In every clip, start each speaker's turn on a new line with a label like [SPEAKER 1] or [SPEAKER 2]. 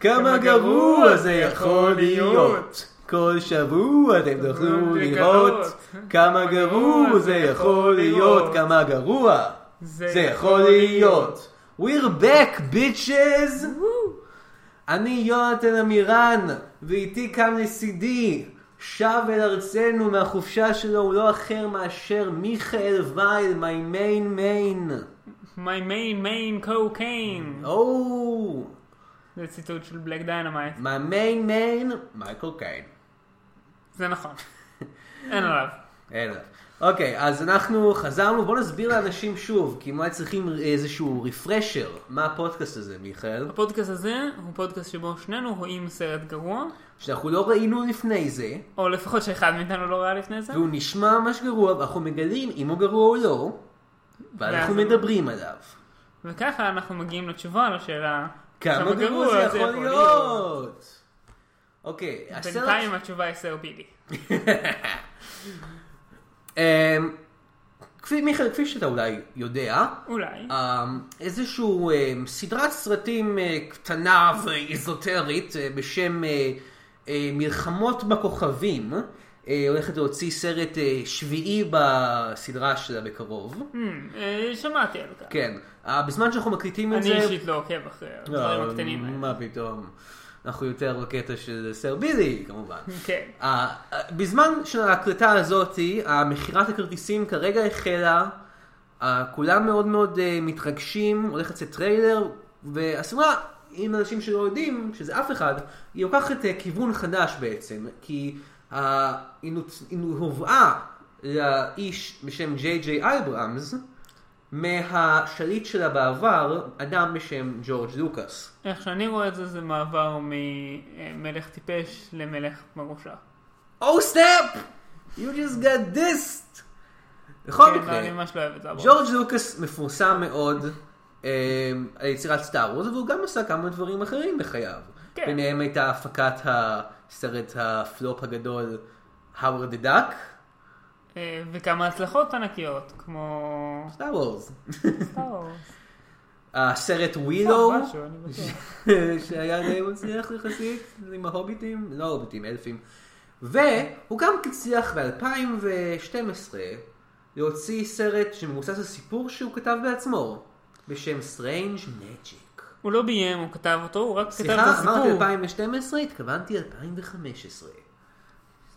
[SPEAKER 1] כמה גרוע זה יכול להיות. כל שבוע אתם תוכלו לראות כמה גרוע זה יכול להיות. כמה גרוע זה יכול להיות. We're back, bitches! אני יונתן עמירן, ואיתי כאן לצידי. שב אל ארצנו מהחופשה שלו הוא לא אחר מאשר מיכאל וייל, my main main.
[SPEAKER 2] My main main cocaine.
[SPEAKER 1] או,
[SPEAKER 2] זה ציטוט של בלק דיינמייט.
[SPEAKER 1] Oh, my main main, מייקל קיין.
[SPEAKER 2] זה נכון. אין עליו.
[SPEAKER 1] אין עליו. אוקיי, אז אנחנו חזרנו, בואו נסביר לאנשים שוב, כי הם אולי צריכים איזשהו רפרשר, מה הפודקאסט הזה, מיכאל?
[SPEAKER 2] הפודקאסט הזה הוא פודקאסט שבו שנינו רואים סרט גרוע,
[SPEAKER 1] שאנחנו לא ראינו לפני זה,
[SPEAKER 2] או לפחות שאחד מאיתנו לא ראה לפני זה.
[SPEAKER 1] והוא נשמע ממש גרוע, ואנחנו מגלים אם הוא גרוע או לא, ואנחנו
[SPEAKER 2] ואז-
[SPEAKER 1] מדברים עליו.
[SPEAKER 2] וככה אנחנו מגיעים לתשובה לשאלה
[SPEAKER 1] כמה גרוע זה יכול להיות? אוקיי, הסרט
[SPEAKER 2] בינתיים התשובה היא סר בילי.
[SPEAKER 1] אמ, כפי, מיכאל, כפי שאתה אולי יודע,
[SPEAKER 2] אולי.
[SPEAKER 1] אמ, איזשהו אמ, סדרת סרטים אה, קטנה ואיזוטרית אה, בשם אה, אה, מלחמות בכוכבים, אה, הולכת להוציא סרט אה, שביעי בסדרה שלה בקרוב.
[SPEAKER 2] Hmm, אה, שמעתי על כך.
[SPEAKER 1] כן, אה, בזמן שאנחנו מקליטים את
[SPEAKER 2] אני
[SPEAKER 1] זה...
[SPEAKER 2] אישית לא עוקב אחרי הדברים
[SPEAKER 1] לא,
[SPEAKER 2] הקטנים האלה.
[SPEAKER 1] מה פתאום, אנחנו יותר בקטע של סר בילי כמובן.
[SPEAKER 2] כן.
[SPEAKER 1] אה, אה, בזמן של ההקלטה הזאתי, המכירת הכרטיסים כרגע החלה, אה, כולם מאוד מאוד אה, מתרגשים, הולך לצאת טריילר, והסדרה, אם אנשים שלא יודעים, שזה אף אחד, היא לוקחת אה, כיוון חדש בעצם, כי אה, היא נוצ- היא הובאה לאיש בשם ג'יי ג'יי אייברהמס, מהשליט שלה בעבר, אדם בשם ג'ורג' לוקאס.
[SPEAKER 2] איך שאני רואה את זה, זה מעבר ממלך טיפש למלך מרושע.
[SPEAKER 1] Oh snap! You just got dissed! בכל
[SPEAKER 2] כן,
[SPEAKER 1] מקרה,
[SPEAKER 2] אני ממש לא אוהב את זה. אבל-
[SPEAKER 1] ג'ורג' לוקאס מפורסם מאוד אה, על יצירת סטאר וורס, והוא גם עשה כמה דברים אחרים בחייו.
[SPEAKER 2] כן.
[SPEAKER 1] ביניהם הייתה הפקת הסרט הפלופ הגדול, Howard the Duck,
[SPEAKER 2] אה, וכמה הצלחות ענקיות, כמו...
[SPEAKER 1] סטאר וורס.
[SPEAKER 2] סטאר וורס.
[SPEAKER 1] הסרט ווילו,
[SPEAKER 2] אה, משהו, אני בטוח.
[SPEAKER 1] שהיה די מצליח יחסית, עם ההוביטים, לא הוביטים, אלפים. והוא גם הצליח ב-2012 להוציא סרט שמבוסס על סיפור שהוא כתב בעצמו, בשם Strange Magic.
[SPEAKER 2] הוא לא ביים, הוא כתב אותו, הוא רק כתב את
[SPEAKER 1] סליחה, אמרתי
[SPEAKER 2] הסיפור.
[SPEAKER 1] 2012, התכוונתי 2015.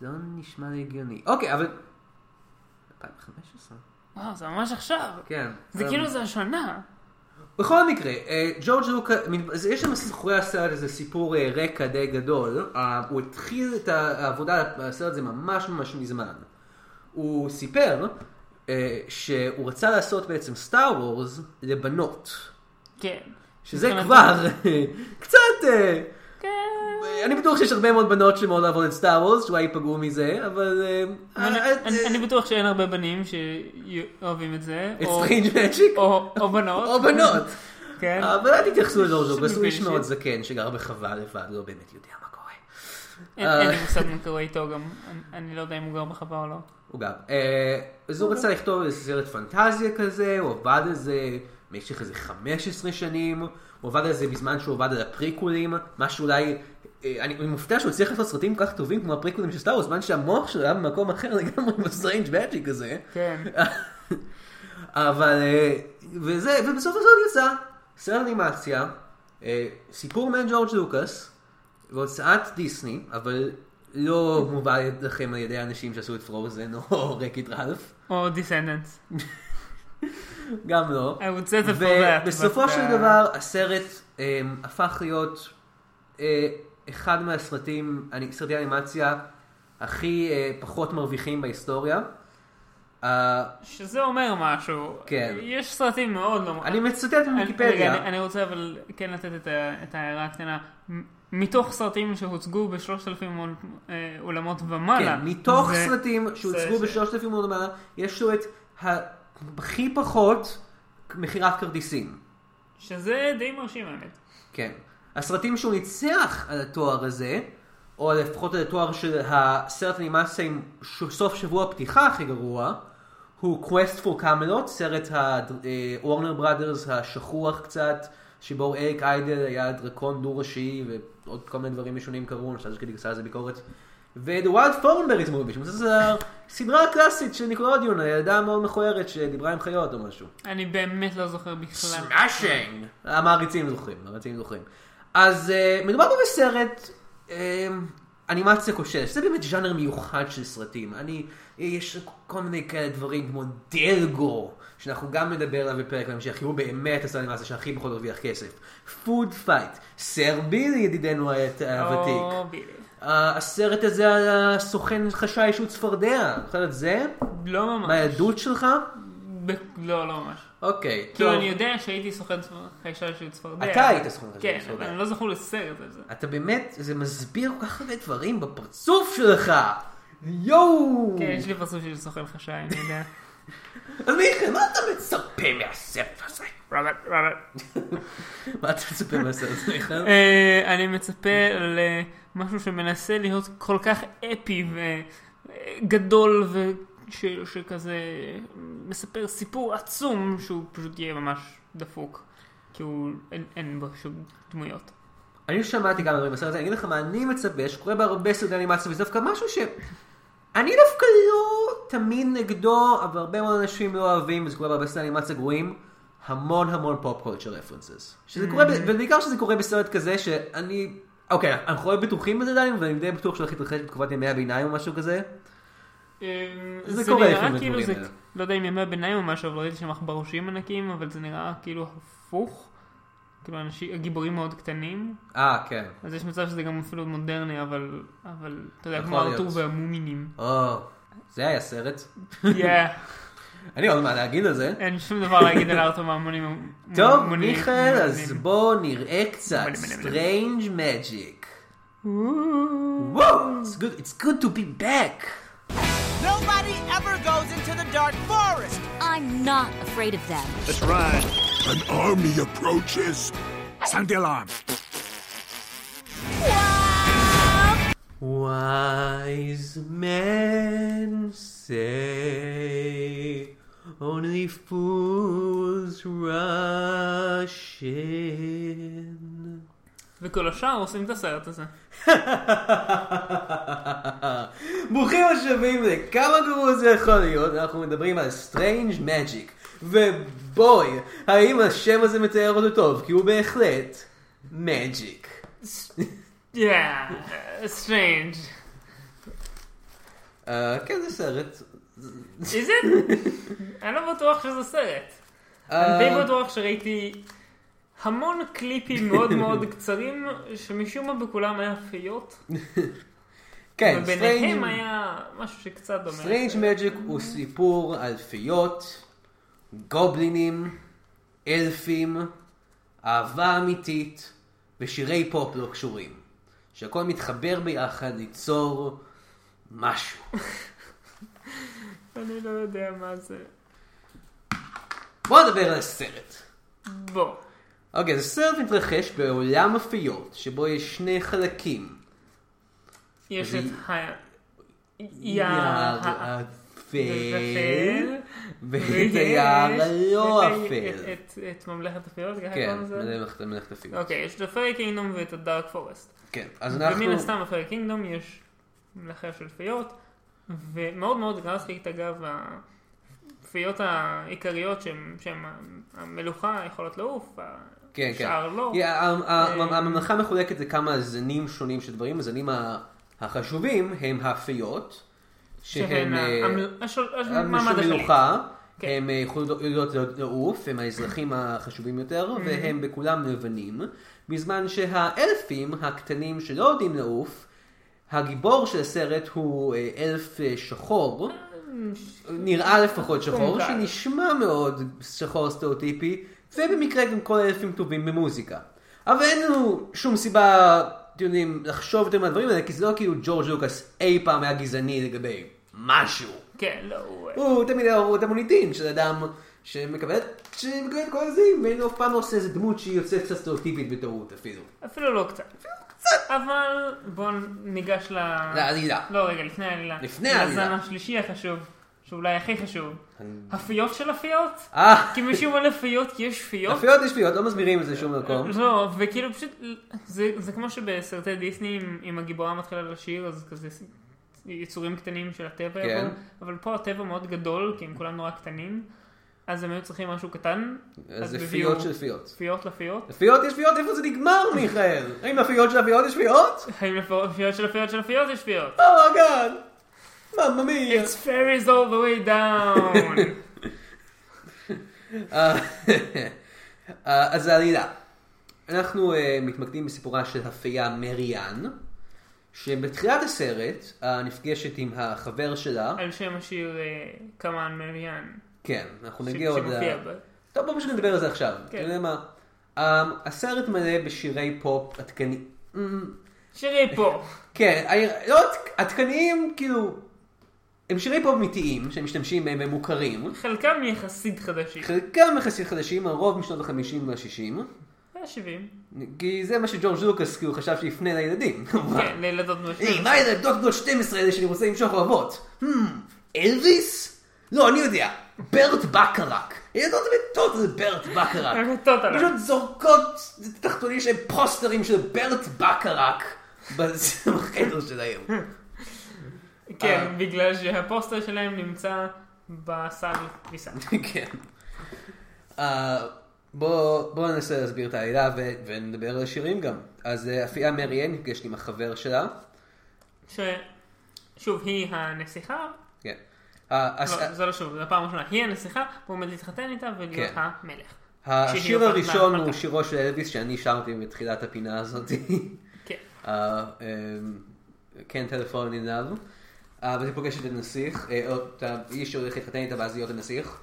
[SPEAKER 1] זה לא נשמע לי הגיוני. אוקיי, אבל... 2015?
[SPEAKER 2] וואו, זה ממש עכשיו.
[SPEAKER 1] כן.
[SPEAKER 2] זה
[SPEAKER 1] אבל-
[SPEAKER 2] כאילו זה השנה.
[SPEAKER 1] בכל מקרה, אה, ג'ורג' לוקה, מן- אז יש שם מאחורי הסרט הזה סיפור אה, רקע די גדול. אה, הוא התחיל את העבודה על הסרט הזה ממש ממש מזמן. הוא סיפר אה, שהוא רצה לעשות בעצם סטאר וורס לבנות.
[SPEAKER 2] כן.
[SPEAKER 1] שזה
[SPEAKER 2] מבחינת-
[SPEAKER 1] כבר קצת... אה,
[SPEAKER 2] כן.
[SPEAKER 1] אני בטוח שיש הרבה מאוד בנות שמאוד אוהבות את סטאר וורס, שאולי ייפגעו מזה, אבל... אה, אה,
[SPEAKER 2] אני- אני- אני בטוח שאין הרבה בנים שאוהבים את זה.
[SPEAKER 1] את
[SPEAKER 2] או-
[SPEAKER 1] סטרינג' מג'יק?
[SPEAKER 2] או או בנות.
[SPEAKER 1] או בנות. אה.
[SPEAKER 2] כן.
[SPEAKER 1] אבל אל תתייחסו לג'ורג' לוקאס, הוא
[SPEAKER 2] שמבין
[SPEAKER 1] איש
[SPEAKER 2] ש-
[SPEAKER 1] מאוד זקן שגר בחווה לבד, לא באמת יודע מה קורה.
[SPEAKER 2] אין
[SPEAKER 1] אה.
[SPEAKER 2] אין לי מושג מה קורה איתו גם. אני- אני לא יודע אם הוא גר בחווה או לא.
[SPEAKER 1] הוא גם. אה, אז הוא רצה לכתוב איזה סרט פנטזיה כזה, הוא עבד על זה במשך איזה 15 שנים, הוא עבד על זה בזמן שהוא עבד על הפריקולים, מה שאולי... אה, אני אני מופתע שהוא הצליח לעשות סרטים כל כך טובים כמו הפריקולים של סטאר וורס, בזמן שהמוח שלו היה במקום אחר לגמרי בסטרנג' מאג'יק הזה.
[SPEAKER 2] כן.
[SPEAKER 1] אבל, אה, וזה, ובסוף הסרט יצא, סרט אנימציה, אה, סיפור מג'ורג' לוקאס, והוצאת דיסני, אבל לא מובא לכם על ידי אנשים שעשו את פרוזן או רקט רלף,
[SPEAKER 2] או דיסנדנס.
[SPEAKER 1] גם לא.
[SPEAKER 2] I would say that for that.
[SPEAKER 1] ובסופו
[SPEAKER 2] but,
[SPEAKER 1] של
[SPEAKER 2] uh,
[SPEAKER 1] דבר הסרט אה, הפך להיות אה, אחד מהסרטים, אני- סרטי האנימציה הכי אה, פחות מרוויחים בהיסטוריה. אה,
[SPEAKER 2] שזה אומר משהו.
[SPEAKER 1] כן.
[SPEAKER 2] יש סרטים מאוד לא...
[SPEAKER 1] אני מצטט
[SPEAKER 2] אני- רגע,
[SPEAKER 1] מוויקיפדיה.
[SPEAKER 2] אני- אני רוצה אבל כן לתת את ה- את ההערה הקטנה. מ- מתוך סרטים שהוצגו בשלושת אלפים אה, אולמות ומעלה.
[SPEAKER 1] כן, מתוך
[SPEAKER 2] זה-
[SPEAKER 1] סרטים שהוצגו
[SPEAKER 2] זה-
[SPEAKER 1] בשלושת אלפים עוד מעלה, יש לו את הכי פחות מכירת כרטיסים.
[SPEAKER 2] שזה די מרשים האמת.
[SPEAKER 1] כן. הסרטים שהוא ניצח על התואר הזה, או לפחות על התואר של הסרט אנימציה עם ש- סוף שבוע פתיחה הכי גרוע, הוא Quest for Camelot, סרט הוורנר בראדרס אה, השכוח קצת, שבו אריק איידל היה דרקון דו-ראשי, ועוד כל מיני דברים משונים קרו, אני חושב שכאילו עשה על זה ביקורת. ו-The Wild Thornberry's Movie, שזו סדרה קלאסית של ניקולודיון, הילדה המאוד מכוערת שדיברה עם חיות או משהו.
[SPEAKER 2] אני באמת לא זוכר בכלל.
[SPEAKER 1] סמאשינג! המעריצים זוכרים, המעריצים זוכרים. אז אה, מדובר פה בסרט אה, אנימציה כושלת, זה באמת ז'אנר מיוחד של סרטים. אני, יש כל מיני כאלה דברים כמו דלגו, שאנחנו גם נדבר עליו בפרק בהמשך, כי הוא באמת הסרט אנימציה שהכי פחות הרוויח כסף. פוד פייט, סר בילי ידידנו העת- אה, הוותיק.
[SPEAKER 2] או, בדיוק.
[SPEAKER 1] אה, הסרט הזה על הסוכן חשאי שהוא צפרדע, זוכר את זה?
[SPEAKER 2] לא ממש.
[SPEAKER 1] מהילדות שלך?
[SPEAKER 2] ב- לא, לא ממש.
[SPEAKER 1] אוקיי.
[SPEAKER 2] כאילו
[SPEAKER 1] טוב.
[SPEAKER 2] אני יודע שהייתי סוכן צפ- חיישה של צפרדע.
[SPEAKER 1] אתה היית סוכן חשאי
[SPEAKER 2] כן,
[SPEAKER 1] של
[SPEAKER 2] אבל
[SPEAKER 1] צפרדע.
[SPEAKER 2] אני לא זוכר לסרט הזה.
[SPEAKER 1] אתה באמת, זה מסביר כל כך הרבה דברים בפרצוף שלך! יואו!
[SPEAKER 2] כן, יש לי פרצוף של סוכן חשאי, אני יודע.
[SPEAKER 1] אז מיכאל, מה אתה מצפה מהסרט הזה?
[SPEAKER 2] רוברט, רוברט.
[SPEAKER 1] מה אתה מצפה מהסרט הזה, מיכאל?
[SPEAKER 2] אה, אני מצפה למשהו שמנסה להיות כל כך אפי וגדול ושכזה מספר סיפור עצום שהוא פשוט יהיה ממש דפוק. כי הוא, אין, אין בו שום דמויות.
[SPEAKER 1] אני שמעתי גם דברים בסרט הזה, אני אגיד לך מה אני מצפה, שקורה בהרבה סרטי אנימציה, וזה דווקא משהו ש... אני דווקא לא תמיד נגדו, אבל הרבה מאוד אנשים לא אוהבים, וזה קורה בהרבה סרטי אנימציה גרועים, המון המון פופ קולצ'ר רפרנסס. שזה קורה, ב- ובעיקר שזה קורה בסרט כזה שאני... אוקיי, אנחנו לא בטוחים בזה עדיין, ואני די בטוח שהולך להתרחש בתקופת ימי הביניים או משהו כזה.
[SPEAKER 2] אה,
[SPEAKER 1] זה קורה
[SPEAKER 2] נראה
[SPEAKER 1] לפעמים
[SPEAKER 2] כאילו
[SPEAKER 1] בדברים
[SPEAKER 2] זה,
[SPEAKER 1] האלה.
[SPEAKER 2] לא יודע אם ימי הביניים או משהו, אבל ראיתי שם עכברושים ענקים, אבל זה נראה כאילו הפוך. כאילו אנשים, הגיבורים מאוד קטנים,
[SPEAKER 1] אה, כן.
[SPEAKER 2] אז יש מצב שזה גם אפילו מודרני, אבל, אבל, אתה יודע,
[SPEAKER 1] יכול
[SPEAKER 2] כמו
[SPEAKER 1] להיות.
[SPEAKER 2] ארתור והמומינים.
[SPEAKER 1] או, זה היה סרט.
[SPEAKER 2] Yeah.
[SPEAKER 1] אני עוד מה להגיד על זה.
[SPEAKER 2] אין שום דבר להגיד על ארתור מהמונים.
[SPEAKER 1] טוב,
[SPEAKER 2] מונים-
[SPEAKER 1] מיכאל, אז
[SPEAKER 2] מונים.
[SPEAKER 1] בואו נראה קצת.
[SPEAKER 2] מונים, מונים,
[SPEAKER 1] Strange Magic.
[SPEAKER 2] וואו.
[SPEAKER 1] Whoa! It's good, it's good to be back!
[SPEAKER 3] Nobody ever goes into the dark forest.
[SPEAKER 4] I'm not afraid of them.
[SPEAKER 5] Let's ride.
[SPEAKER 6] An army approaches. Sound the alarm.
[SPEAKER 1] Wise men say only fools rush in.
[SPEAKER 2] וכל השאר עושים את הסרט הזה.
[SPEAKER 1] ברוכים השבים לכמה גרוע זה יכול להיות, אנחנו מדברים על Strange Magic. ובואי, האם השם הזה מתאר אותו טוב? כי הוא בהחלט Magic.
[SPEAKER 2] Yeah, strange.
[SPEAKER 1] אה, כן, זה סרט.
[SPEAKER 2] Is it? אני לא בטוח שזה סרט.
[SPEAKER 1] אה,
[SPEAKER 2] אני די בטוח שראיתי המון קליפים מאוד מאוד קצרים, שמשום מה בכולם היה פיות,
[SPEAKER 1] כן,
[SPEAKER 2] וביניהם
[SPEAKER 1] Strange-
[SPEAKER 2] היה משהו שקצת דומה.
[SPEAKER 1] Strange Magic הוא סיפור על פיות, גובלינים, אלפים, אהבה אמיתית ושירי פופ לא קשורים. שהכל מתחבר ביחד ליצור משהו.
[SPEAKER 2] אני לא יודע מה זה.
[SPEAKER 1] בואו נדבר על הסרט.
[SPEAKER 2] בוא.
[SPEAKER 1] אוקיי, אז הסרט מתרחש בעולם הפיות, שבו יש שני חלקים.
[SPEAKER 2] יש
[SPEAKER 1] זה-
[SPEAKER 2] את ה...
[SPEAKER 1] יער אה, כן.
[SPEAKER 2] יא...
[SPEAKER 1] אפל, ואת
[SPEAKER 2] ויש
[SPEAKER 1] היער הלא
[SPEAKER 2] את ה-
[SPEAKER 1] אפל.
[SPEAKER 2] את- את ממלכת הפיות, ככה
[SPEAKER 1] כן,
[SPEAKER 2] קוראים לזה?
[SPEAKER 1] מלאכת מלאכת הפיות.
[SPEAKER 2] אוקיי, יש את הפרי קינגדום ואת הדארק פורסט.
[SPEAKER 1] כן, אז אנחנו...
[SPEAKER 2] ומן הסתם בפרי קינגדום יש מלאכה של פיות, ומאוד מאוד גרפית אגב, הפיות העיקריות שהן שהן ה- המלוכה יכולות לעוף,
[SPEAKER 1] כן, כן.
[SPEAKER 2] השאר לא.
[SPEAKER 1] Yeah, ה- ה- הממלכה מחולקת לכמה זנים שונים של דברים, הזנים ה- החשובים הם הפיות, שהם
[SPEAKER 2] שהן ה-
[SPEAKER 1] אה,
[SPEAKER 2] המל- השול- הש-
[SPEAKER 1] הם
[SPEAKER 2] מעמד
[SPEAKER 1] של
[SPEAKER 2] השליט.
[SPEAKER 1] מלוכה,
[SPEAKER 2] כן.
[SPEAKER 1] הם אה, יכולות לעוף, הם האזרחים החשובים יותר, והם בכולם לבנים, בזמן שהאלפים הקטנים שלא יודעים לעוף, הגיבור של הסרט הוא אה, אלף אה, שחור, נראה לפחות שחור,
[SPEAKER 2] קומקל.
[SPEAKER 1] שנשמע מאוד שחור סטריאוטיפי, ובמקרה גם כל האלפים טובים במוזיקה. אבל אין לנו שום סיבה, אתם יודעים, לחשוב יותר מהדברים האלה, כי זה לא כאילו ג'ורג' לוקאס אי פעם היה גזעני לגבי משהו.
[SPEAKER 2] כן, לא, הוא-
[SPEAKER 1] הוא תמיד היה רואה את המוניטין של אדם שמקבל שמקבל את כל הזים, ואין לו אף פעם לא עושה איזה דמות שהיא יוצאת קצת סטריאוטיפית בטעות אפילו.
[SPEAKER 2] אפילו לא קצת. אבל בואו ניגש ל...
[SPEAKER 1] לעלילה.
[SPEAKER 2] אה. לא, רגע, לפני העלילה.
[SPEAKER 1] לפני העלילה.
[SPEAKER 2] לזן השלישי החשוב. שאולי הכי חשוב, הפיות של הפיות?
[SPEAKER 1] אה,
[SPEAKER 2] כי מישהו אומר לפיות כי יש פיות?
[SPEAKER 1] אפיות יש פיות, לא מסבירים את זה שום מקום.
[SPEAKER 2] לא, וכאילו פשוט, זה, זה כמו שבסרטי דיסני, אם, אם הגיבורה מתחילה לשיר, אז כזה יצורים קטנים של
[SPEAKER 1] כן.
[SPEAKER 2] הטבע, יבואו, אבל פה הטבע מאוד גדול, כי הם כולם נורא קטנים, אז הם היו צריכים משהו קטן,
[SPEAKER 1] אז זה
[SPEAKER 2] הביאו
[SPEAKER 1] פיות של פיות.
[SPEAKER 2] פיות לפיות,
[SPEAKER 1] פיות יש פיות, איפה זה נגמר, מיכאל? האם הפיות של הפיות יש פיות? Oh
[SPEAKER 2] האם לפיות של הפיות של הפיות יש פיות?
[SPEAKER 1] אומייגאד! מממי!
[SPEAKER 2] It's fairies all the way down.
[SPEAKER 1] אה, אז העלילה. אנחנו אה, מתמקדים בסיפורה של הפייה מריאן, שבתחילת הסרט אה, נפגשת עם החבר שלה.
[SPEAKER 2] על שם השיר אה, קמאן מריאן,
[SPEAKER 1] כן, אנחנו
[SPEAKER 2] ש-
[SPEAKER 1] נגיע עוד... אה, ל-
[SPEAKER 2] שמופיע ב...
[SPEAKER 1] טוב, בואו פשוט נדבר על זה עכשיו. אתה
[SPEAKER 2] כן.
[SPEAKER 1] יודע מה? אה, הסרט מלא בשירי פופ עדכני... אמ,
[SPEAKER 2] שירי פה.
[SPEAKER 1] כן, אני- לא עד- עדכניים, כאילו... הם שירי פופ אמיתיים, שהם משתמשים בהם, הם מוכרים.
[SPEAKER 2] חלקם יחסית חדשים.
[SPEAKER 1] חלקם יחסית חדשים, הרוב משנות ה-50 וה-60.
[SPEAKER 2] זה 70.
[SPEAKER 1] כי זה מה שג'ורג' לוקאס, כי הוא חשב שיפנה לילדים.
[SPEAKER 2] כן, לילדות
[SPEAKER 1] היי,
[SPEAKER 2] נושאים.
[SPEAKER 1] מה אלה דוט גוד 12 האלה שאני רוצה למשוך אוהבות? "אמ, אלוויס? לא, אני יודע. ברט בקרק. ילדות מתות על ברט בקרק.
[SPEAKER 2] מתות עליו.
[SPEAKER 1] פשוט זורקות תחתונים של פוסטרים של ברט בקרק בחדר שלהם. אה.
[SPEAKER 2] כן, בגלל שהפוסטר שלהם נמצא בסל כביסה.
[SPEAKER 1] כן. אה, בוא בוא ננסה להסביר את העלילה ו- ונדבר על השירים גם. אז אה, אפייה מריאן נפגשת עם החבר שלה.
[SPEAKER 2] ששוב, היא הנסיכה.
[SPEAKER 1] כן. אה, הס-
[SPEAKER 2] לא, זה לא שוב, זו הפעם הראשונה. היא הנסיכה, הוא עומד להתחתן איתה ולהיות
[SPEAKER 1] כן.
[SPEAKER 2] המלך. שהיא
[SPEAKER 1] השיר
[SPEAKER 2] הופכת
[SPEAKER 1] הראשון הוא
[SPEAKER 2] למלכה.
[SPEAKER 1] שירו של אלוויס שאני שרתי בתחילת הפינה הזאת.
[SPEAKER 2] כן.
[SPEAKER 1] אה, כן, טלפון עיניו. ואז היא פוגשת את הנסיך, אה, או את האיש שהולך להתחתן איתה ואז להיות הנסיך.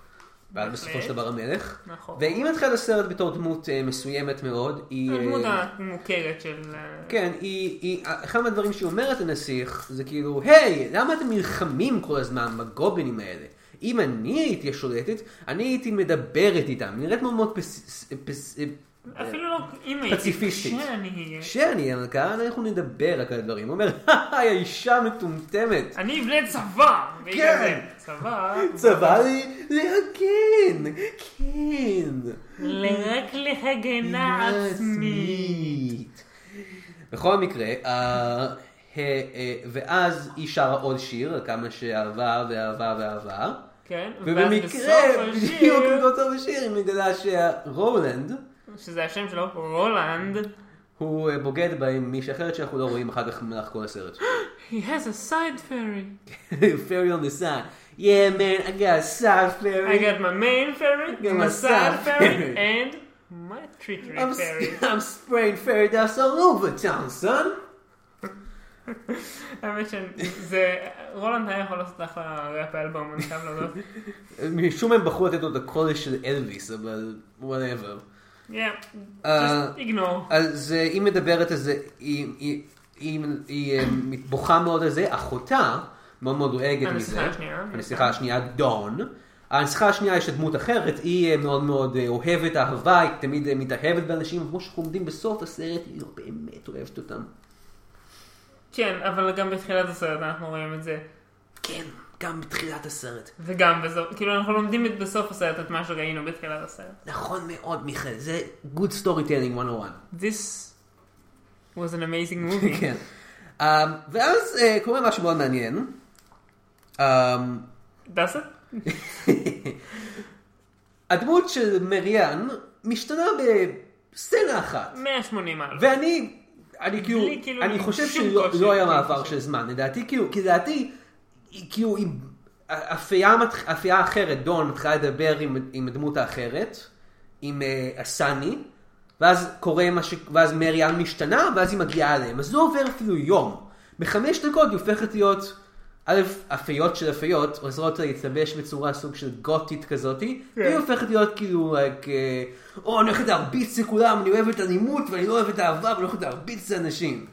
[SPEAKER 1] ואז בסופו של דבר המלך.
[SPEAKER 2] אוקיי. נכון.
[SPEAKER 1] והיא מתחילה לסרט בתור דמות אה, מסוימת מאוד. היא... אה,
[SPEAKER 2] הדמות המוכרת של... אה,
[SPEAKER 1] כן, היא, היא, אחד מהדברים שהיא אומרת לנסיך, זה כאילו, היי, למה אתם נלחמים כל הזמן בגובלינים האלה? אם אני הייתי השולטת, אני הייתי מדברת איתם, נראית מאוד מאוד פס... פס...
[SPEAKER 2] אפילו לא אם הייתי...
[SPEAKER 1] פציפיסטית.
[SPEAKER 2] שאני אהיה.
[SPEAKER 1] כשאני אהיה מלכה, אנחנו נדבר רק על הדברים. הוא אומר, היי, האישה מטומטמת.
[SPEAKER 2] אני אבנה צבא! והיא
[SPEAKER 1] כן.
[SPEAKER 2] כזה, צבא!
[SPEAKER 1] צבא לי להגן, כן.
[SPEAKER 2] רק להגנה עצמית.
[SPEAKER 1] בכל מקרה, אה, ה- אה, ואז היא שרה עוד שיר, על כמה שאהבה ואהבה ואהבה.
[SPEAKER 2] כן, ואז
[SPEAKER 1] ובמקרה,
[SPEAKER 2] בסוף
[SPEAKER 1] בדיוק
[SPEAKER 2] השיר,
[SPEAKER 1] באותו בשיר, היא מגלה שהרולנד
[SPEAKER 2] שזה השם שלו, רולנד,
[SPEAKER 1] הוא אה, בוגד בה עם מישהי אחרת שאנחנו לא רואים אחר כך במהלך כל הסרט.
[SPEAKER 2] He has a side fairy.
[SPEAKER 1] Fairy on the side. Yeah man, I got a side
[SPEAKER 2] I
[SPEAKER 1] fairy.
[SPEAKER 2] got my main fairy,
[SPEAKER 1] got
[SPEAKER 2] my
[SPEAKER 1] my
[SPEAKER 2] side
[SPEAKER 1] side
[SPEAKER 2] fairy,
[SPEAKER 1] fairy.
[SPEAKER 2] and my treachery
[SPEAKER 1] I'm,
[SPEAKER 2] fairy.
[SPEAKER 1] I'm spraying fairy dust all over town, son.
[SPEAKER 2] האמת שזה, רולנד היה יכול לעשות אחלה ראפ אלבום, אני חייב להודות.
[SPEAKER 1] משום מה הם בחרו לתת לו את הקודש של אלוויס, אבל וואטאבר.
[SPEAKER 2] Yeah,
[SPEAKER 1] אה,
[SPEAKER 2] just ignore.
[SPEAKER 1] אז אה, היא מדברת על זה, היא- היא- היא היא, אה, בוכה מאוד על זה, אחותה מאוד מאוד דואגת
[SPEAKER 2] הנסיכה
[SPEAKER 1] מזה.
[SPEAKER 2] השנייה. כן.
[SPEAKER 1] הנסיכה השנייה, דון. הנסיכה השנייה יש לה דמות אחרת, היא אה, מאוד מאוד אה, אוהבת אהבה, היא תמיד אה, מתאהבת באנשים, כמו שאנחנו עומדים בסוף הסרט, היא לא באמת אוהבת אותם.
[SPEAKER 2] כן, אבל גם בתחילת הסרט אנחנו רואים את זה,
[SPEAKER 1] כן, גם בתחילת הסרט.
[SPEAKER 2] וגם בסוף, כאילו אנחנו לומדים את- בסוף הסרט את מה שראינו בתחילת הסרט.
[SPEAKER 1] נכון מאוד, מיכאל, זה Good Storytelling 101.
[SPEAKER 2] This was an amazing movie.
[SPEAKER 1] כן. Um, ואז uh, קורה משהו מאוד מעניין. Um,
[SPEAKER 2] Does it?
[SPEAKER 1] הדמות של מריאן משתנה בסצנה אחת.
[SPEAKER 2] 180 מעלות.
[SPEAKER 1] ואני, אני כאילו,
[SPEAKER 2] בלי כאילו
[SPEAKER 1] אני חושב
[SPEAKER 2] שום
[SPEAKER 1] שלא
[SPEAKER 2] קושי,
[SPEAKER 1] לא היה
[SPEAKER 2] כן,
[SPEAKER 1] מעבר
[SPEAKER 2] קושי.
[SPEAKER 1] של זמן. לדעתי, כאילו, כי לדעתי, היא- כאילו, היא- אפייה מתח- אפייה אחרת, דון, מתחילה לדבר עם- עם הדמות האחרת, עם אה, הסני. ואז קורה מה ש... ואז מריאן משתנה, ואז היא מגיעה אליהם. אז לא עובר אפילו יום. בחמש דקות היא הופכת להיות, א', אפיות של אפיות, עוזרות לה להתלבש בצורה סוג של גותית כזאתי, והיא הופכת להיות כאילו, רק, אה, או, אני הולכת להרביץ לכולם, אני אוהבת אלימות, ואני לא אוהבת אהבה, ואני הולכת להרביץ לאנשים.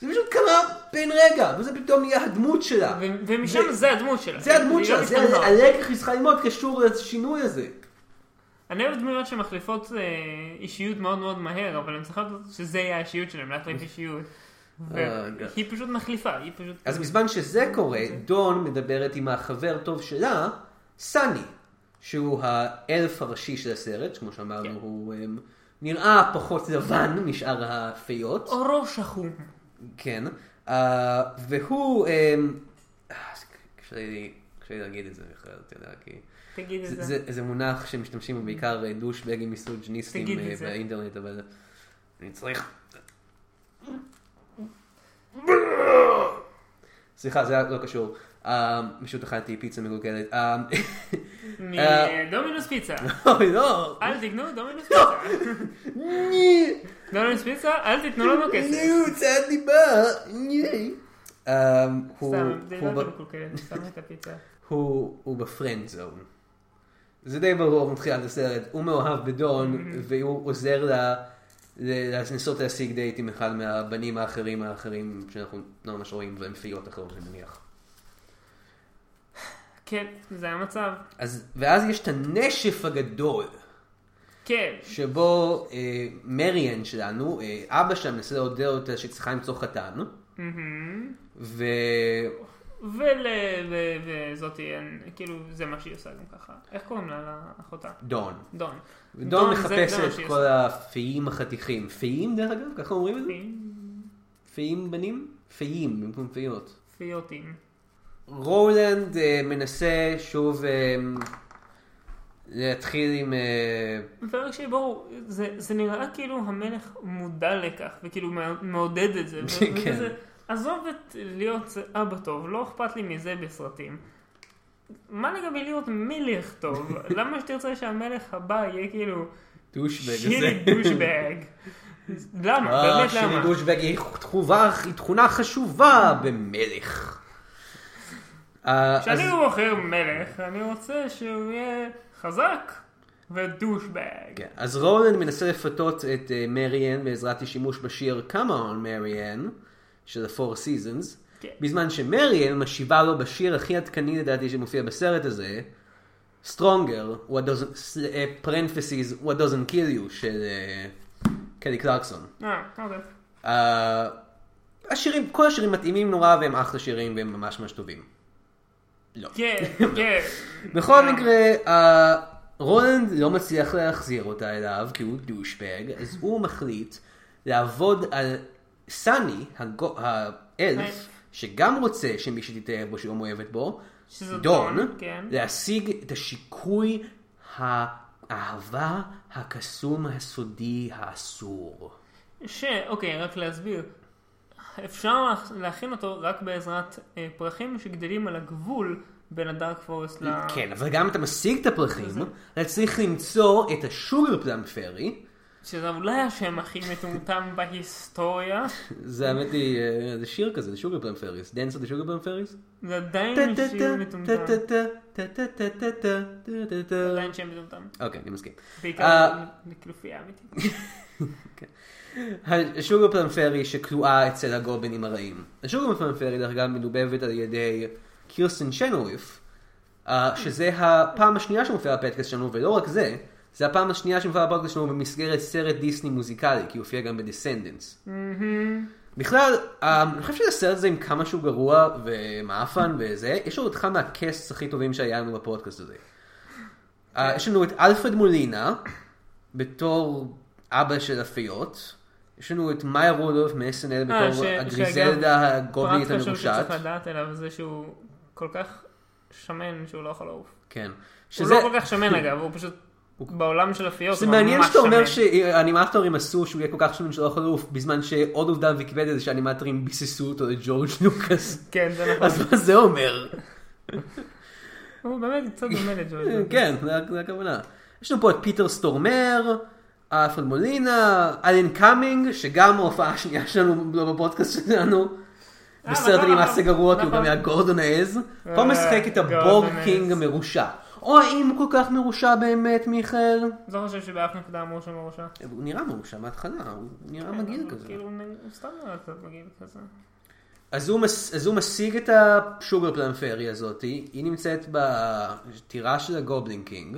[SPEAKER 1] זה פשוט קרה בן רגע, וזה פתאום נהיה הדמות שלה.
[SPEAKER 2] ו- ומשם זה הדמות שלה.
[SPEAKER 1] זה הדמות
[SPEAKER 2] היא לא
[SPEAKER 1] שלה, זה
[SPEAKER 2] משתנה.
[SPEAKER 1] הלקח שהיא צריכה ללמוד קשור לשינוי הזה.
[SPEAKER 2] אני אוהב דמויות שמחליפות אה, אישיות מאוד מאוד מהר, אבל הן צריכות שזה יהיה האישיות שלהן, להחליף אישיות. והיא פשוט מחליפה, היא פשוט...
[SPEAKER 1] אז בזמן שזה קורה, דון מדברת עם החבר טוב שלה, סני, שהוא האלף הראשי של הסרט, כמו
[SPEAKER 2] כן.
[SPEAKER 1] שאמרנו, הוא אמ, נראה פחות לבן משאר הפיות.
[SPEAKER 2] אורו שחום.
[SPEAKER 1] כן, אה, והוא, אמ, אה, קשה לי קשה לי להגיד את זה בכלל, אתה יודע, כי
[SPEAKER 2] תגיד את
[SPEAKER 1] זה-
[SPEAKER 2] זה.
[SPEAKER 1] זה- זה מונח שמשתמשים בו בעיקר אה, דושבגים מסוג'ניסטים
[SPEAKER 2] תגיד
[SPEAKER 1] אה,
[SPEAKER 2] את זה.
[SPEAKER 1] באינטרנט, אבל אני צריך... סליחה, זה היה לא קשור. אה, פשוט אכלתי פיצה מגולגלת. אה, אה,
[SPEAKER 2] מדומינוס פיצה.
[SPEAKER 1] אוי, לא!
[SPEAKER 2] אל תקנו דומינוס פיצה.
[SPEAKER 1] ני!
[SPEAKER 2] דומינוס פיצה, אל תתנו לנו אה, כסף.
[SPEAKER 1] ני, הוצאת דיבה! ני! אה, הוא-
[SPEAKER 2] סתם, זה
[SPEAKER 1] הוא
[SPEAKER 2] לא
[SPEAKER 1] ב-
[SPEAKER 2] אתם מקולקלים, סתם את הפיצה.
[SPEAKER 1] הוא, הוא בפרנד זון. זה די ברור מתחילת הסרט, הוא מאוהב בדון,
[SPEAKER 2] Mm-hmm.
[SPEAKER 1] והוא עוזר לה ל- לנסות להשיג דייט עם אחד מהבנים האחרים האחרים שאנחנו לא ממש רואים, והם פיות אחרות אני מניח.
[SPEAKER 2] כן, זה המצב.
[SPEAKER 1] אז, ואז יש את הנשף הגדול,
[SPEAKER 2] כן.
[SPEAKER 1] שבו אה, מריאן שלנו, אה, אבא שלה מנסה לעודד אותה שצריכה למצוא חתן, ו...
[SPEAKER 2] ולזאתי, כאילו, זה מה שהיא עושה גם ככה. איך קוראים לה, לאחותה?
[SPEAKER 1] דון.
[SPEAKER 2] דון.
[SPEAKER 1] ודון
[SPEAKER 2] זה- זה
[SPEAKER 1] מחפש
[SPEAKER 2] מה
[SPEAKER 1] את
[SPEAKER 2] שהיא
[SPEAKER 1] כל הפיים החתיכים. פיים דרך אגב? ככה אומרים את זה? פיים בנים? פיים במקום פיות.
[SPEAKER 2] פיוטים.
[SPEAKER 1] רולנד אה, מנסה שוב אה, להתחיל עם... אה,
[SPEAKER 2] ורק שיהיה ברור, זה, זה נראה כאילו המלך מודע לכך, וכאילו מע- מעודד את זה. ו-
[SPEAKER 1] כן.
[SPEAKER 2] וזה, עזוב את להיות אבא טוב, לא אכפת לי מזה בסרטים. מה לגבי להיות מלך טוב? למה שתרצה שהמלך הבא יהיה כאילו
[SPEAKER 1] דושבג הזה.
[SPEAKER 2] שירי דושבג? למה?
[SPEAKER 1] אה,
[SPEAKER 2] באמת
[SPEAKER 1] שירי
[SPEAKER 2] למה?
[SPEAKER 1] דושבג היא תכובה- היא תכונה חשובה במלך. אה, אז-
[SPEAKER 2] כשאני בוחר מלך, אני רוצה שהוא יהיה חזק ודושבג.
[SPEAKER 1] כן. אז רולנד מנסה לפתות את אה, מריאן בעזרת השימוש בשיר Come on מריאן של ה-Four Seasons,
[SPEAKER 2] כן.
[SPEAKER 1] בזמן שמריאן משיבה לו בשיר הכי עדכני לדעתי שמופיע בסרט הזה, Stronger, what doesn't, s- אה, parentheses, what doesn't kill you של אה, קלי קלרקסון.
[SPEAKER 2] אה, אוקיי.
[SPEAKER 1] אה, השירים, כל השירים מתאימים נורא והם אחלה שירים והם ממש ממש טובים. לא.
[SPEAKER 2] כן, כן.
[SPEAKER 1] בכל מקרה, אה, רולנד לא מצליח להחזיר אותה אליו, כי הוא דושבג, אז הוא מחליט לעבוד על סני, הגו- האלף, שגם רוצה שמי שתתאהב בו, שהיא מאוהבת בו,
[SPEAKER 2] שזה
[SPEAKER 1] דון,
[SPEAKER 2] דון, כן.
[SPEAKER 1] להשיג את השיקוי האהבה, הקסום, הסודי, האסור.
[SPEAKER 2] שאוקיי, אוקיי, רק להסביר. אפשר להכ- להכין אותו רק בעזרת אה, פרחים שגדלים על הגבול בין הדארק פורסט ל...
[SPEAKER 1] כן, אבל גם אם אתה משיג את הפרחים, אתה צריך למצוא את השוגר פלאם פרי,
[SPEAKER 2] שזה אולי השם הכי מטומטם בהיסטוריה.
[SPEAKER 1] זה האמת היא, אה, זה שיר כזה, זה שוגר פלאם פריס, דנס אוף שוגר פלאם פריס.
[SPEAKER 2] זה עדיין שם מטומטם. עדיין שם מטומטם.
[SPEAKER 1] אוקיי, אני מסכים.
[SPEAKER 2] בעיקר
[SPEAKER 1] אה,
[SPEAKER 2] לכנופיה אמיתית.
[SPEAKER 1] השוגר פלמפרי שכלואה אצל הגובלים הרעים. השוגר פלמפרי דרך אגב מדובבת על ידי קירסטן שנוויף, אה, שזה הפעם השנייה שמופיעה בפודקאסט שלנו, ולא רק זה, זה הפעם השנייה שמופיעה בפודקאסט שלנו במסגרת סרט דיסני מוזיקלי, כי היא הופיעה גם בדסנדנס. בכלל, אה, אני חושב שהסרט הזה עם כמה שהוא גרוע ומאפן וזה, יש לנו את אחד מהקאסטס הכי טובים שהיה לנו בפודקאסט הזה.
[SPEAKER 2] כן.
[SPEAKER 1] אה, יש לנו את אלפרד מולינה, בתור אבא של הפיות. יש לנו את מאיה רודולף מ-SNL
[SPEAKER 2] אה,
[SPEAKER 1] בתור
[SPEAKER 2] ש-
[SPEAKER 1] הגריזלדה
[SPEAKER 2] שאגב,
[SPEAKER 1] הגובלית
[SPEAKER 2] פרט חשוב
[SPEAKER 1] המרושעת.
[SPEAKER 2] שצריך לדעת עליו זה שהוא כל כך שמן שהוא לא יכול לעוף.
[SPEAKER 1] כן.
[SPEAKER 2] הוא
[SPEAKER 1] שזה כן.
[SPEAKER 2] לא כל כך שמן אגב, הוא פשוט בעולם של הפיות
[SPEAKER 1] זה
[SPEAKER 2] הוא ממש שמן.
[SPEAKER 1] מעניין שאתה אומר שהאנימטורים עשו שהוא יהיה כל כך שמן שלא יכול לעוף, בזמן שעוד עובדה בוויקיפדיה זה שהאנימטורים ביססו אותו לג'ורג' לוקאס.
[SPEAKER 2] כן, זה נכון.
[SPEAKER 1] אז מה זה אומר?
[SPEAKER 2] הוא באמת קצת דומה לג'ורג'ו.
[SPEAKER 1] כן, זה ה- זה הכוונה. יש לנו פה את פיטר סטורמר, אלפרד מולינה, אלן קאמינג, שגם ההופעה השנייה שלנו לא בפודקאסט שלנו. בסרט
[SPEAKER 2] נכון,
[SPEAKER 1] הנמאס
[SPEAKER 2] נכון.
[SPEAKER 1] הגרוע, כי הוא גם
[SPEAKER 2] נכון.
[SPEAKER 1] היה גורדון העז. פה
[SPEAKER 2] אה,
[SPEAKER 1] משחק את הבור
[SPEAKER 2] גורדון העז.
[SPEAKER 1] קינג המרושע. או האם הוא כל כך מרושע באמת, מיכאל?
[SPEAKER 2] לא חושב שבאף נקודה אמרו שם ראשה.
[SPEAKER 1] הוא נראה מרושע מההתחלה, הוא נראה מגעיל כזה.
[SPEAKER 2] כאילו, הוא סתם נראה קצת מגעיל כזה.
[SPEAKER 1] אז הוא, מס, אז הוא משיג את השוגר פלאם פרי הזאתי, היא נמצאת בטירה של הגובלין קינג,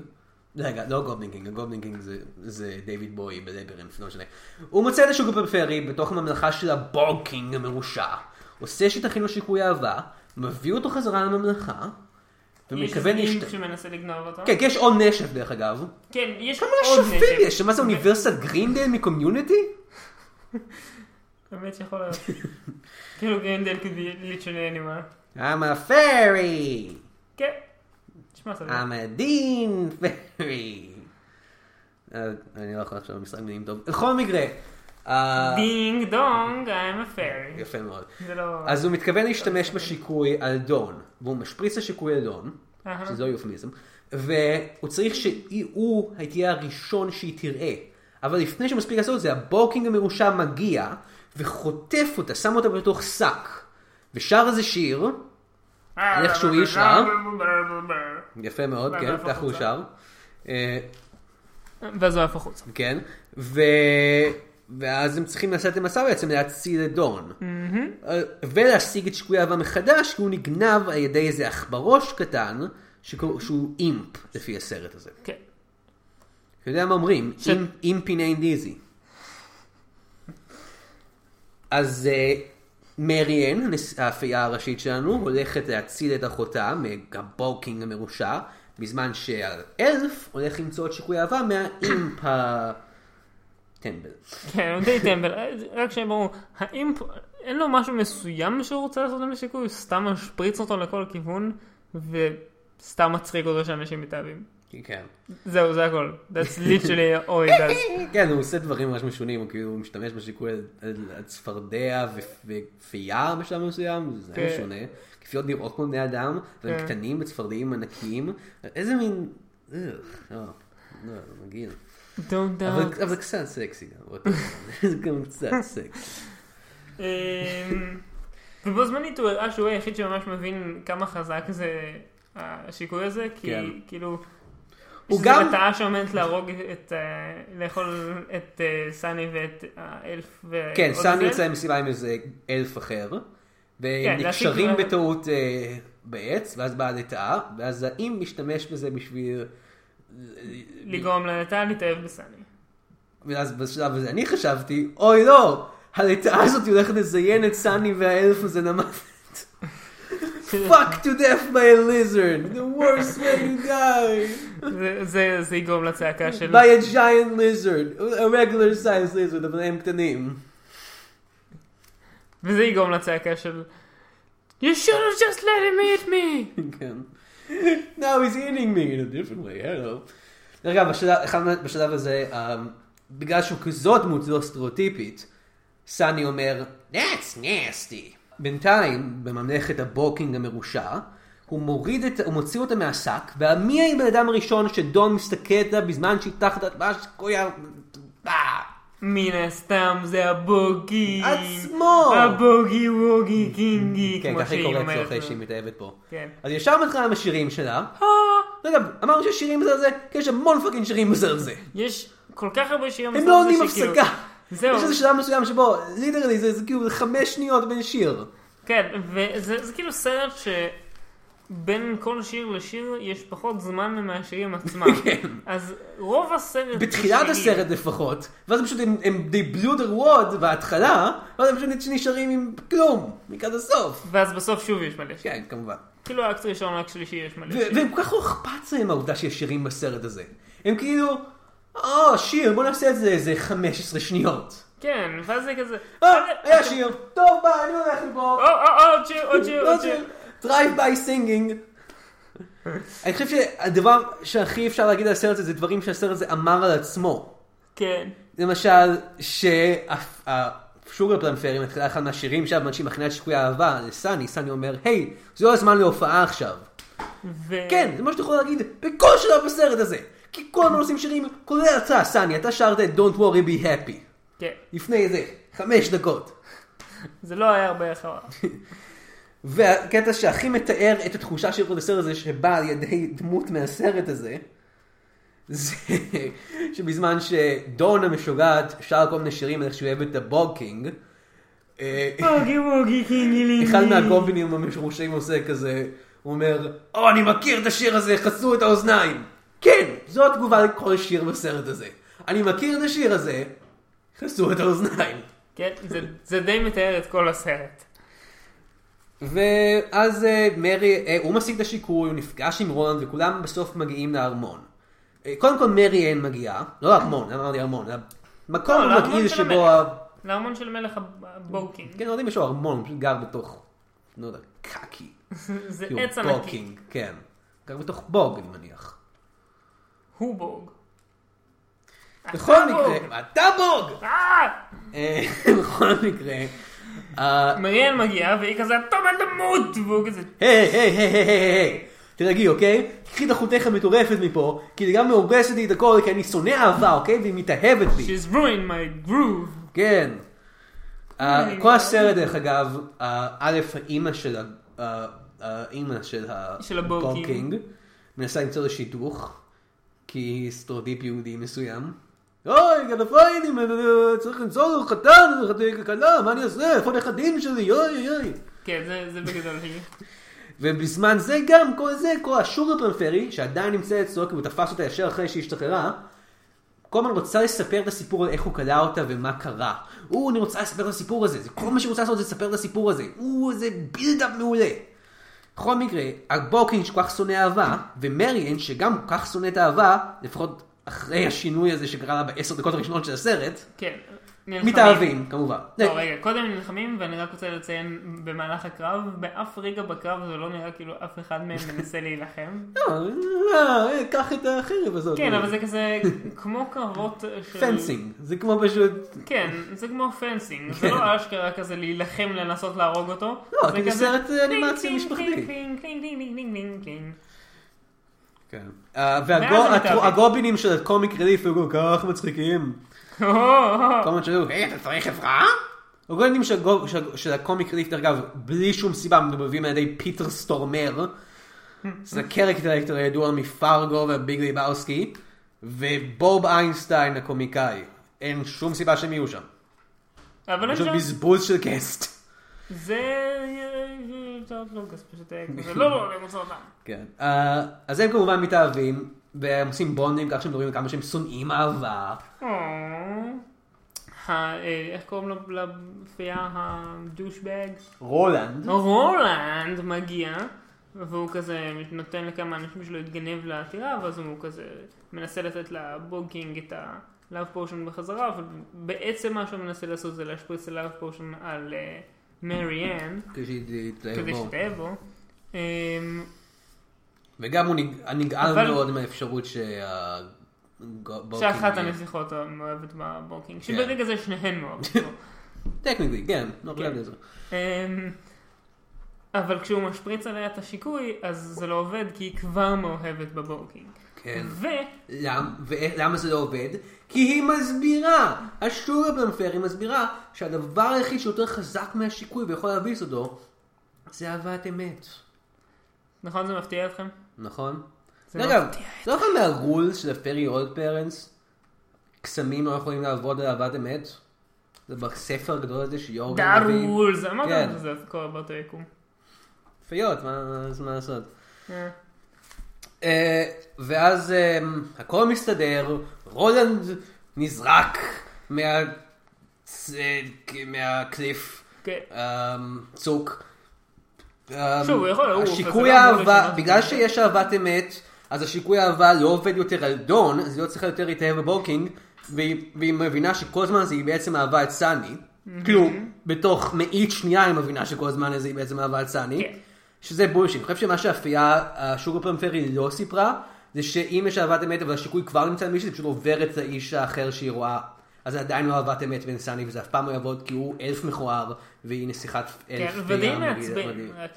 [SPEAKER 1] רגע, לא גובנינגינג, הגובנינגינג זה, זה דיוויד בוי בלברינף, לא משנה. הוא מוצא את השוק הפריפרי בתוך הממלכה של הבורקינג המרושע, עושה שתכין לו שיקוי אהבה, מביא אותו חזרה לממלכה,
[SPEAKER 2] יש
[SPEAKER 1] ומתכוון
[SPEAKER 2] איזה
[SPEAKER 1] להשת...
[SPEAKER 2] איש שמנסה לגנוב אותו.
[SPEAKER 1] כן, כי יש עוד נשף דרך אגב.
[SPEAKER 2] כן, יש
[SPEAKER 1] כמה
[SPEAKER 2] עוד נשק.
[SPEAKER 1] נשפים יש? מה זה אוניברסיטת גרינדל מקומיוניטי?
[SPEAKER 2] באמת שיכול להיות. כאילו גרינדל כדי ליצ'ני אנימה.
[SPEAKER 1] I'm a fairy!
[SPEAKER 2] כן. תשמע, סבבה.
[SPEAKER 1] I'm a dean fairy! אה, אני לא יכול עכשיו משחק מילים טוב. בכל מקרה, אה,
[SPEAKER 2] דינג דונג, I'm a fairy.
[SPEAKER 1] יפה מאוד.
[SPEAKER 2] זה לא...
[SPEAKER 1] אז הוא מתכוון להשתמש בשיקוי על דון, והוא משפריץ לשיקוי על דון,
[SPEAKER 2] אהה.
[SPEAKER 1] שזה יופמיזם, והוא צריך שהוא תהיה הראשון שהיא תראה. אבל לפני שמספיק לעשות את זה, הבורקינג המרושע מגיע, וחוטף אותה, שם אותה בתוך שק, ושר איזה שיר,
[SPEAKER 2] אה,
[SPEAKER 1] איכשהו איש
[SPEAKER 2] לא-
[SPEAKER 1] רע. יפה מאוד,
[SPEAKER 2] ואז הוא
[SPEAKER 1] כן,
[SPEAKER 2] עף
[SPEAKER 1] ככה הוא
[SPEAKER 2] החוצה.
[SPEAKER 1] שר. אה,
[SPEAKER 2] ואז הוא עף החוצה.
[SPEAKER 1] כן, ו... ואז הם צריכים לעשות את המסע בעצם להציל את דון. אה, ולהשיג את שיקוי אהבה מחדש, כי הוא נגנב על ידי איזה עכברוש קטן, שקור... שהוא אימפ, לפי הסרט הזה.
[SPEAKER 2] כן.
[SPEAKER 1] אתה יודע מה אומרים?
[SPEAKER 2] ש-
[SPEAKER 1] אימפ- אימפין אין איזי. אז אה, מריאן, הנס- האפייה הראשית שלנו, הולכת להציל את אחותה מהבורקינג המרושע, בזמן שהאלף הולך למצוא את שיקוי אהבה מהאימפ ה... טמבל.
[SPEAKER 2] כן, הוא די טמבל. רק שיהיה ברור, האם אין לו משהו מסוים שהוא רוצה לעשות עם השיקוי? הוא סתם משפריץ אותו לכל כיוון, וסתם מצחיק אותו שאנשים מתאהבים.
[SPEAKER 1] כן.
[SPEAKER 2] זהו, זה הכל. That's literally all it does.
[SPEAKER 1] כן, הוא עושה דברים ממש משונים, הוא כאילו משתמש בשיקוי על- על על צפרדע ו- ופייה בשלב מסוים, זה היה
[SPEAKER 2] כן.
[SPEAKER 1] שונה. כפיות נראות כמו בני אדם, והם
[SPEAKER 2] כן.
[SPEAKER 1] קטנים וצפרדעים ענקיים. איזה מין... אה, לא, לא, זה מגעיל.
[SPEAKER 2] Don't
[SPEAKER 1] אבל
[SPEAKER 2] doubt.
[SPEAKER 1] אבל זה קצת סקסי גם. באותו זמן. זה גם קצת סקסי.
[SPEAKER 2] אמ, ובו זמנית הוא הראה שהוא היחיד שממש מבין כמה חזק זה השיקוי הזה, כי
[SPEAKER 1] כן.
[SPEAKER 2] כאילו...
[SPEAKER 1] הוא
[SPEAKER 2] שזו
[SPEAKER 1] גם-
[SPEAKER 2] מטעה שעומדת להרוג את... אה, לאכול את אה, סני ואת האלף ועוד
[SPEAKER 1] כן, סאני
[SPEAKER 2] הזה.
[SPEAKER 1] יוצא למסיבה עם איזה אלף אחר,
[SPEAKER 2] כן,
[SPEAKER 1] והם
[SPEAKER 2] להשיג
[SPEAKER 1] נקשרים
[SPEAKER 2] דברים.
[SPEAKER 1] בטעות אה, בעץ, ואז באה לטאה, ואז האם משתמש בזה בשביל...
[SPEAKER 2] לגרום לנתן להתאהב בסני.
[SPEAKER 1] ואז בשלב הזה אני חשבתי, אוי לא, הלטאה הזאת הולכת לזיין את סאני והאלף הזה למוות. Fuck to death by a lizard, the worst way to die.
[SPEAKER 2] זה- זה- זה יגרום לצעקה של...
[SPEAKER 1] by a giant lizard, a regular size lizard, אבל הם קטנים.
[SPEAKER 2] וזה יגרום לצעקה של... You should have just let him eat me!
[SPEAKER 1] כן. Now he's eating me in a different way, hello. רגע, בשלב, אחד מה- בשלב הזה, um, בגלל שהוא כזו דמות לא סטריאוטיפית, סאני אומר, That's nasty. בינתיים, בממלכת הבוקינג המרושע, הוא מוריד את, הוא מוציא אותה מהשק, ומי הבן אדם הראשון שדון מסתכל עליה בזמן שהיא תחת מה שקויה...
[SPEAKER 2] מן הסתם זה הבוגי.
[SPEAKER 1] עצמו!
[SPEAKER 2] הבוגי ווגי קינגי,
[SPEAKER 1] כן,
[SPEAKER 2] כמו
[SPEAKER 1] ככה היא
[SPEAKER 2] שהיא
[SPEAKER 1] קוראת לו
[SPEAKER 2] אומרת.
[SPEAKER 1] אחרי שהיא מתאהבת פה.
[SPEAKER 2] כן.
[SPEAKER 1] אז ישר מתחילה עם השירים שלה.
[SPEAKER 2] אה,
[SPEAKER 1] רגע, אמרנו שיש שירים בזה על זה? כי יש המון פאקינג שירים בזה על זה.
[SPEAKER 2] יש כל כך הרבה שירים.
[SPEAKER 1] הם
[SPEAKER 2] בסוף
[SPEAKER 1] לא
[SPEAKER 2] הזה
[SPEAKER 1] עונים
[SPEAKER 2] שכאילו-
[SPEAKER 1] הפסקה.
[SPEAKER 2] זהו.
[SPEAKER 1] יש איזה שלב מסוים שבו, ליטרלי, זה זה כאילו חמש שניות בין שיר.
[SPEAKER 2] כן, וזה זה כאילו סרט שבין כל שיר לשיר יש פחות זמן מהשירים עצמם. אז רוב הסרט... זה
[SPEAKER 1] כן. בתחילת
[SPEAKER 2] שירים.
[SPEAKER 1] הסרט לפחות, ואז הם פשוט, הם- הם they blew their word בהתחלה, ואז הם פשוט נשארים עם כלום, לקראת הסוף.
[SPEAKER 2] ואז בסוף שוב יש מלא שירים.
[SPEAKER 1] כן, כמובן.
[SPEAKER 2] כאילו האקט ראשון, האקט שלישי יש מלא
[SPEAKER 1] ו-
[SPEAKER 2] שירים.
[SPEAKER 1] והם כל כך לא אכפת להם העובדה שיש שירים בסרט הזה. הם כאילו, או, שיר, בוא נעשה את זה איזה 15 שניות.
[SPEAKER 2] כן, ואז זה כזה...
[SPEAKER 1] אה, היה שיר, טוב, ביי, אני הולך מפה.
[SPEAKER 2] או, או, או, עוד שיר, עוד שיר,
[SPEAKER 1] לא
[SPEAKER 2] עוד שיר.
[SPEAKER 1] דרייב ביי סינגינג. אני חושב שהדבר שהכי אפשר להגיד על הסרט הזה, זה דברים שהסרט הזה אמר על עצמו.
[SPEAKER 2] כן.
[SPEAKER 1] למשל, שהשוגר פלמפרי מתחילה אחד מהשירים שם, בזמן שהיא מכינה את שיקוי האהבה לסני, סני אומר, היי, זה לא הזמן להופעה עכשיו.
[SPEAKER 2] ו-
[SPEAKER 1] כן, זה מה שאתה יכול להגיד בכל שלב בסרט הזה. כי כל הזמן עושים שירים, כולל אתה, סני, אתה שרת את Don't worry be happy.
[SPEAKER 2] כן.
[SPEAKER 1] לפני איזה חמש דקות.
[SPEAKER 2] זה לא היה הרבה אחריו.
[SPEAKER 1] והקטע שהכי מתאר את התחושה של כל הסרט הזה, שבא על ידי דמות מהסרט הזה, זה שבזמן שדון המשוגעת שר כל מיני שירים על איך שהוא אוהב את הבוקינג, אה,
[SPEAKER 2] בוגי ווגי קינגילי.
[SPEAKER 1] אחד מהגובינים המשורשים עושה כזה, הוא אומר, או, אני מכיר את השיר הזה, חסו את האוזניים. כן, זו התגובה לכל שיר בסרט הזה. אני מכיר את השיר הזה, כנסו את האוזניים.
[SPEAKER 2] כן, זה, זה די מתאר את כל הסרט.
[SPEAKER 1] ואז אה, מרי, אה, הוא משיג את השיקוי, הוא נפגש עם רולנד, וכולם בסוף מגיעים לארמון. אה, קודם כל מרי אין מגיעה, לא ארמון, למה אמרתי ארמון, המקום
[SPEAKER 2] לא, לארמון
[SPEAKER 1] המגעיל
[SPEAKER 2] של
[SPEAKER 1] שבו...
[SPEAKER 2] המלך.
[SPEAKER 1] ה-
[SPEAKER 2] לארמון של מלך הב- הבורקין.
[SPEAKER 1] כן, לא יודע אם יש לו ארמון, הוא פשוט גר בתוך, לא יודע, קקי.
[SPEAKER 2] זה
[SPEAKER 1] כאילו,
[SPEAKER 2] עץ ענקי.
[SPEAKER 1] בוקינג, כן. גר בתוך בוג, אני מניח.
[SPEAKER 2] הוא בורג.
[SPEAKER 1] בכל
[SPEAKER 2] בוג.
[SPEAKER 1] מקרה, אתה בוג!
[SPEAKER 2] אה!
[SPEAKER 1] אה, בכל מקרה, אה,
[SPEAKER 2] מריאל מגיעה והיא כזה, אתה עומד למות! והוא כזה,
[SPEAKER 1] היי, היי, היי, היי, היי, היי, תרגי, אוקיי? קחי את אחותך המטורפת מפה, כי היא גם מהורסת לי את הכל, כי אני שונא אהבה, אוקיי? והיא מתאהבת בי.
[SPEAKER 2] She's ruined my groove.
[SPEAKER 1] כן. אה,
[SPEAKER 2] כן.
[SPEAKER 1] כל הסרט, דרך אגב, אה, א', האימא של ה... אה, האימא של
[SPEAKER 2] של הבורקינג.
[SPEAKER 1] הבורקינג מנסה למצוא איזה שידוך, כי היא סטרודיפ יהודי מסוים. אוי, גדפריינים, צריך למצוא לו חתן, חתן כלה, מה אני אעשה? איפה הנכדים שלי? אוי, אוי, אוי.
[SPEAKER 2] כן, זה- זה בגדול היא.
[SPEAKER 1] ובזמן זה גם, כל זה, כל השור הפריפרי, שעדיין נמצא אצלו, כי הוא תפס אותה ישר אחרי שהיא השתחררה, כל הזמן רוצה לספר את הסיפור על איך הוא כלא אותה ומה קרה. הוא, אני רוצה לספר את הסיפור הזה, זה כל מה שהיא רוצה לעשות זה לספר את הסיפור הזה. הוא, זה בילדאפ מעולה. בכל מקרה, הבוקינג שכל כך שונא אהבה, ומריאן שגם כל כך שונא את האהבה, לפחות אחרי השינוי הזה שקרה לה בעשר דקות הראשונות של הסרט,
[SPEAKER 2] כן. נלחמים.
[SPEAKER 1] מתאהבים, כמובן.
[SPEAKER 2] לא, רגע, קודם הם נלחמים, ואני רק רוצה לציין במהלך הקרב, באף רגע בקרב זה לא נראה כאילו אף אחד מהם מנסה להילחם.
[SPEAKER 1] לא, אה, אה, קח את החרב הזאת.
[SPEAKER 2] כן, אבל זה כזה כמו קרבות של...
[SPEAKER 1] פנסינג, זה כמו פשוט
[SPEAKER 2] כן, זה כמו פנסינג, זה לא אשכרה כזה להילחם לנסות להרוג אותו.
[SPEAKER 1] לא,
[SPEAKER 2] זה
[SPEAKER 1] כי זה
[SPEAKER 2] כזה
[SPEAKER 1] סרט, אה,
[SPEAKER 2] טינג,
[SPEAKER 1] אנימציה
[SPEAKER 2] טינג,
[SPEAKER 1] משפחתי.
[SPEAKER 2] טינג, טינג, טינג, טינג, טינג, טינג, טינג.
[SPEAKER 1] כן.
[SPEAKER 2] ואז הם מתאהבים.
[SPEAKER 1] והגובינים של הקומיק רליף היו כל כך מצחיקים.
[SPEAKER 2] הו, הו,
[SPEAKER 1] כל
[SPEAKER 2] הו.
[SPEAKER 1] הזמן שאלו, היי, אתה צריך עזרה? הגובינים של הגו- של- של הקומיק רליף, דרך אגב, בלי שום סיבה, מדובבים על ידי פיטר סטורמר. זה קרקטר אקטור הידוע מפרגו והביג ליבאוסקי, ובוב איינשטיין הקומיקאי. אין שום סיבה שהם יהיו שם.
[SPEAKER 2] אבל
[SPEAKER 1] פשוט
[SPEAKER 2] אפשר...
[SPEAKER 1] בזבוז של קסט.
[SPEAKER 2] זה... זה לוקאס פשוט היה כזה. לא, לא, אני רוצה אותם.
[SPEAKER 1] כן. אה, אז הם כמובן מתאהבים, והם עושים בונדים כך שהם מדברים על כמה שהם שונאים אהבה.
[SPEAKER 2] אה, ה- אה, איך קוראים לו- לפייה הדושבג?
[SPEAKER 1] רולנד.
[SPEAKER 2] רולנד מגיע, והוא כזה נותן לכמה אנשים שלו להתגנב לעתירה, ואז הוא כזה מנסה לתת לבוגינג את ה... לאב פורשן בחזרה, אבל בעצם מה שהוא מנסה לעשות זה להשפריץ לאב פורשן על אה, מרי אן,
[SPEAKER 1] כשהיא תתאהב
[SPEAKER 2] כדי
[SPEAKER 1] בו.
[SPEAKER 2] שתאהב בו. אמ,
[SPEAKER 1] וגם הוא נג- נגעל
[SPEAKER 2] אבל-
[SPEAKER 1] מאוד מהאפשרות שה... בוקינג- כן.
[SPEAKER 2] שאחת הנסיכות מאוהבת בבוקינג, שברגע זה שניהן מאוהבות בו.
[SPEAKER 1] טכניקלי, כן. לא חייב
[SPEAKER 2] כן.
[SPEAKER 1] לזה.
[SPEAKER 2] אמ, אבל כשהוא משפריץ עליה את השיקוי, אז זה לא עובד, כי היא כבר מאוהבת בבורקינג.
[SPEAKER 1] כן.
[SPEAKER 2] ולמה
[SPEAKER 1] למ- ולמה זה לא עובד? כי היא מסבירה! השור הפלנפר היא מסבירה שהדבר היחיד שיותר חזק מהשיקוי ויכול להביס אותו זה אהבת אמת.
[SPEAKER 2] נכון זה מפתיע אתכם?
[SPEAKER 1] נכון?
[SPEAKER 2] זה
[SPEAKER 1] דרך
[SPEAKER 2] לא
[SPEAKER 1] אגב, לא אחד מהרולס של הפרי אולד פרנס, קסמים לא יכולים לעבוד על אהבת אמת? זה בספר הגדול הזה שיורגן מביא.
[SPEAKER 2] דארולס,
[SPEAKER 1] כן.
[SPEAKER 2] אמרנו שזה קורה באותו יקום.
[SPEAKER 1] יפיות, מה אז מה לעשות?
[SPEAKER 2] אה,
[SPEAKER 1] אה, ואז אה, הכל מסתדר, רולנד נזרק מה... אה, מהקליף,
[SPEAKER 2] כן.
[SPEAKER 1] אה, צוק. אה,
[SPEAKER 2] שוב, הוא יכול לעוף, אז
[SPEAKER 1] השיקוי
[SPEAKER 2] זה לא אמור
[SPEAKER 1] האהבה,
[SPEAKER 2] לשנות.
[SPEAKER 1] בגלל שיש אהבת אמת, אז השיקוי האהבה לא עובד יותר על דון, אז היא לא צריכה יותר להתאהב בבוקינג, והיא, והיא מבינה שכל הזמן הזה היא בעצם אהבה את סני. כאילו, בתוך מאית שנייה היא מבינה שכל הזמן הזה היא בעצם אהבה את סני.
[SPEAKER 2] כן.
[SPEAKER 1] שזה בולשיט. אני חושב שמה שאפייה השוק הפרמפרי לא סיפרה, זה שאם יש אהבת אמת אבל השיקוי כבר נמצא למישהו, זה פשוט עובר את האיש האחר שהיא רואה. אז זה עדיין לא אהבת אמת בין סני, וזה אף פעם לא יעבוד, כי הוא אלף מכוער, והיא נסיכת אלף.
[SPEAKER 2] כן, ודי
[SPEAKER 1] פייה
[SPEAKER 2] מעצבן,
[SPEAKER 1] מדהים.
[SPEAKER 2] רק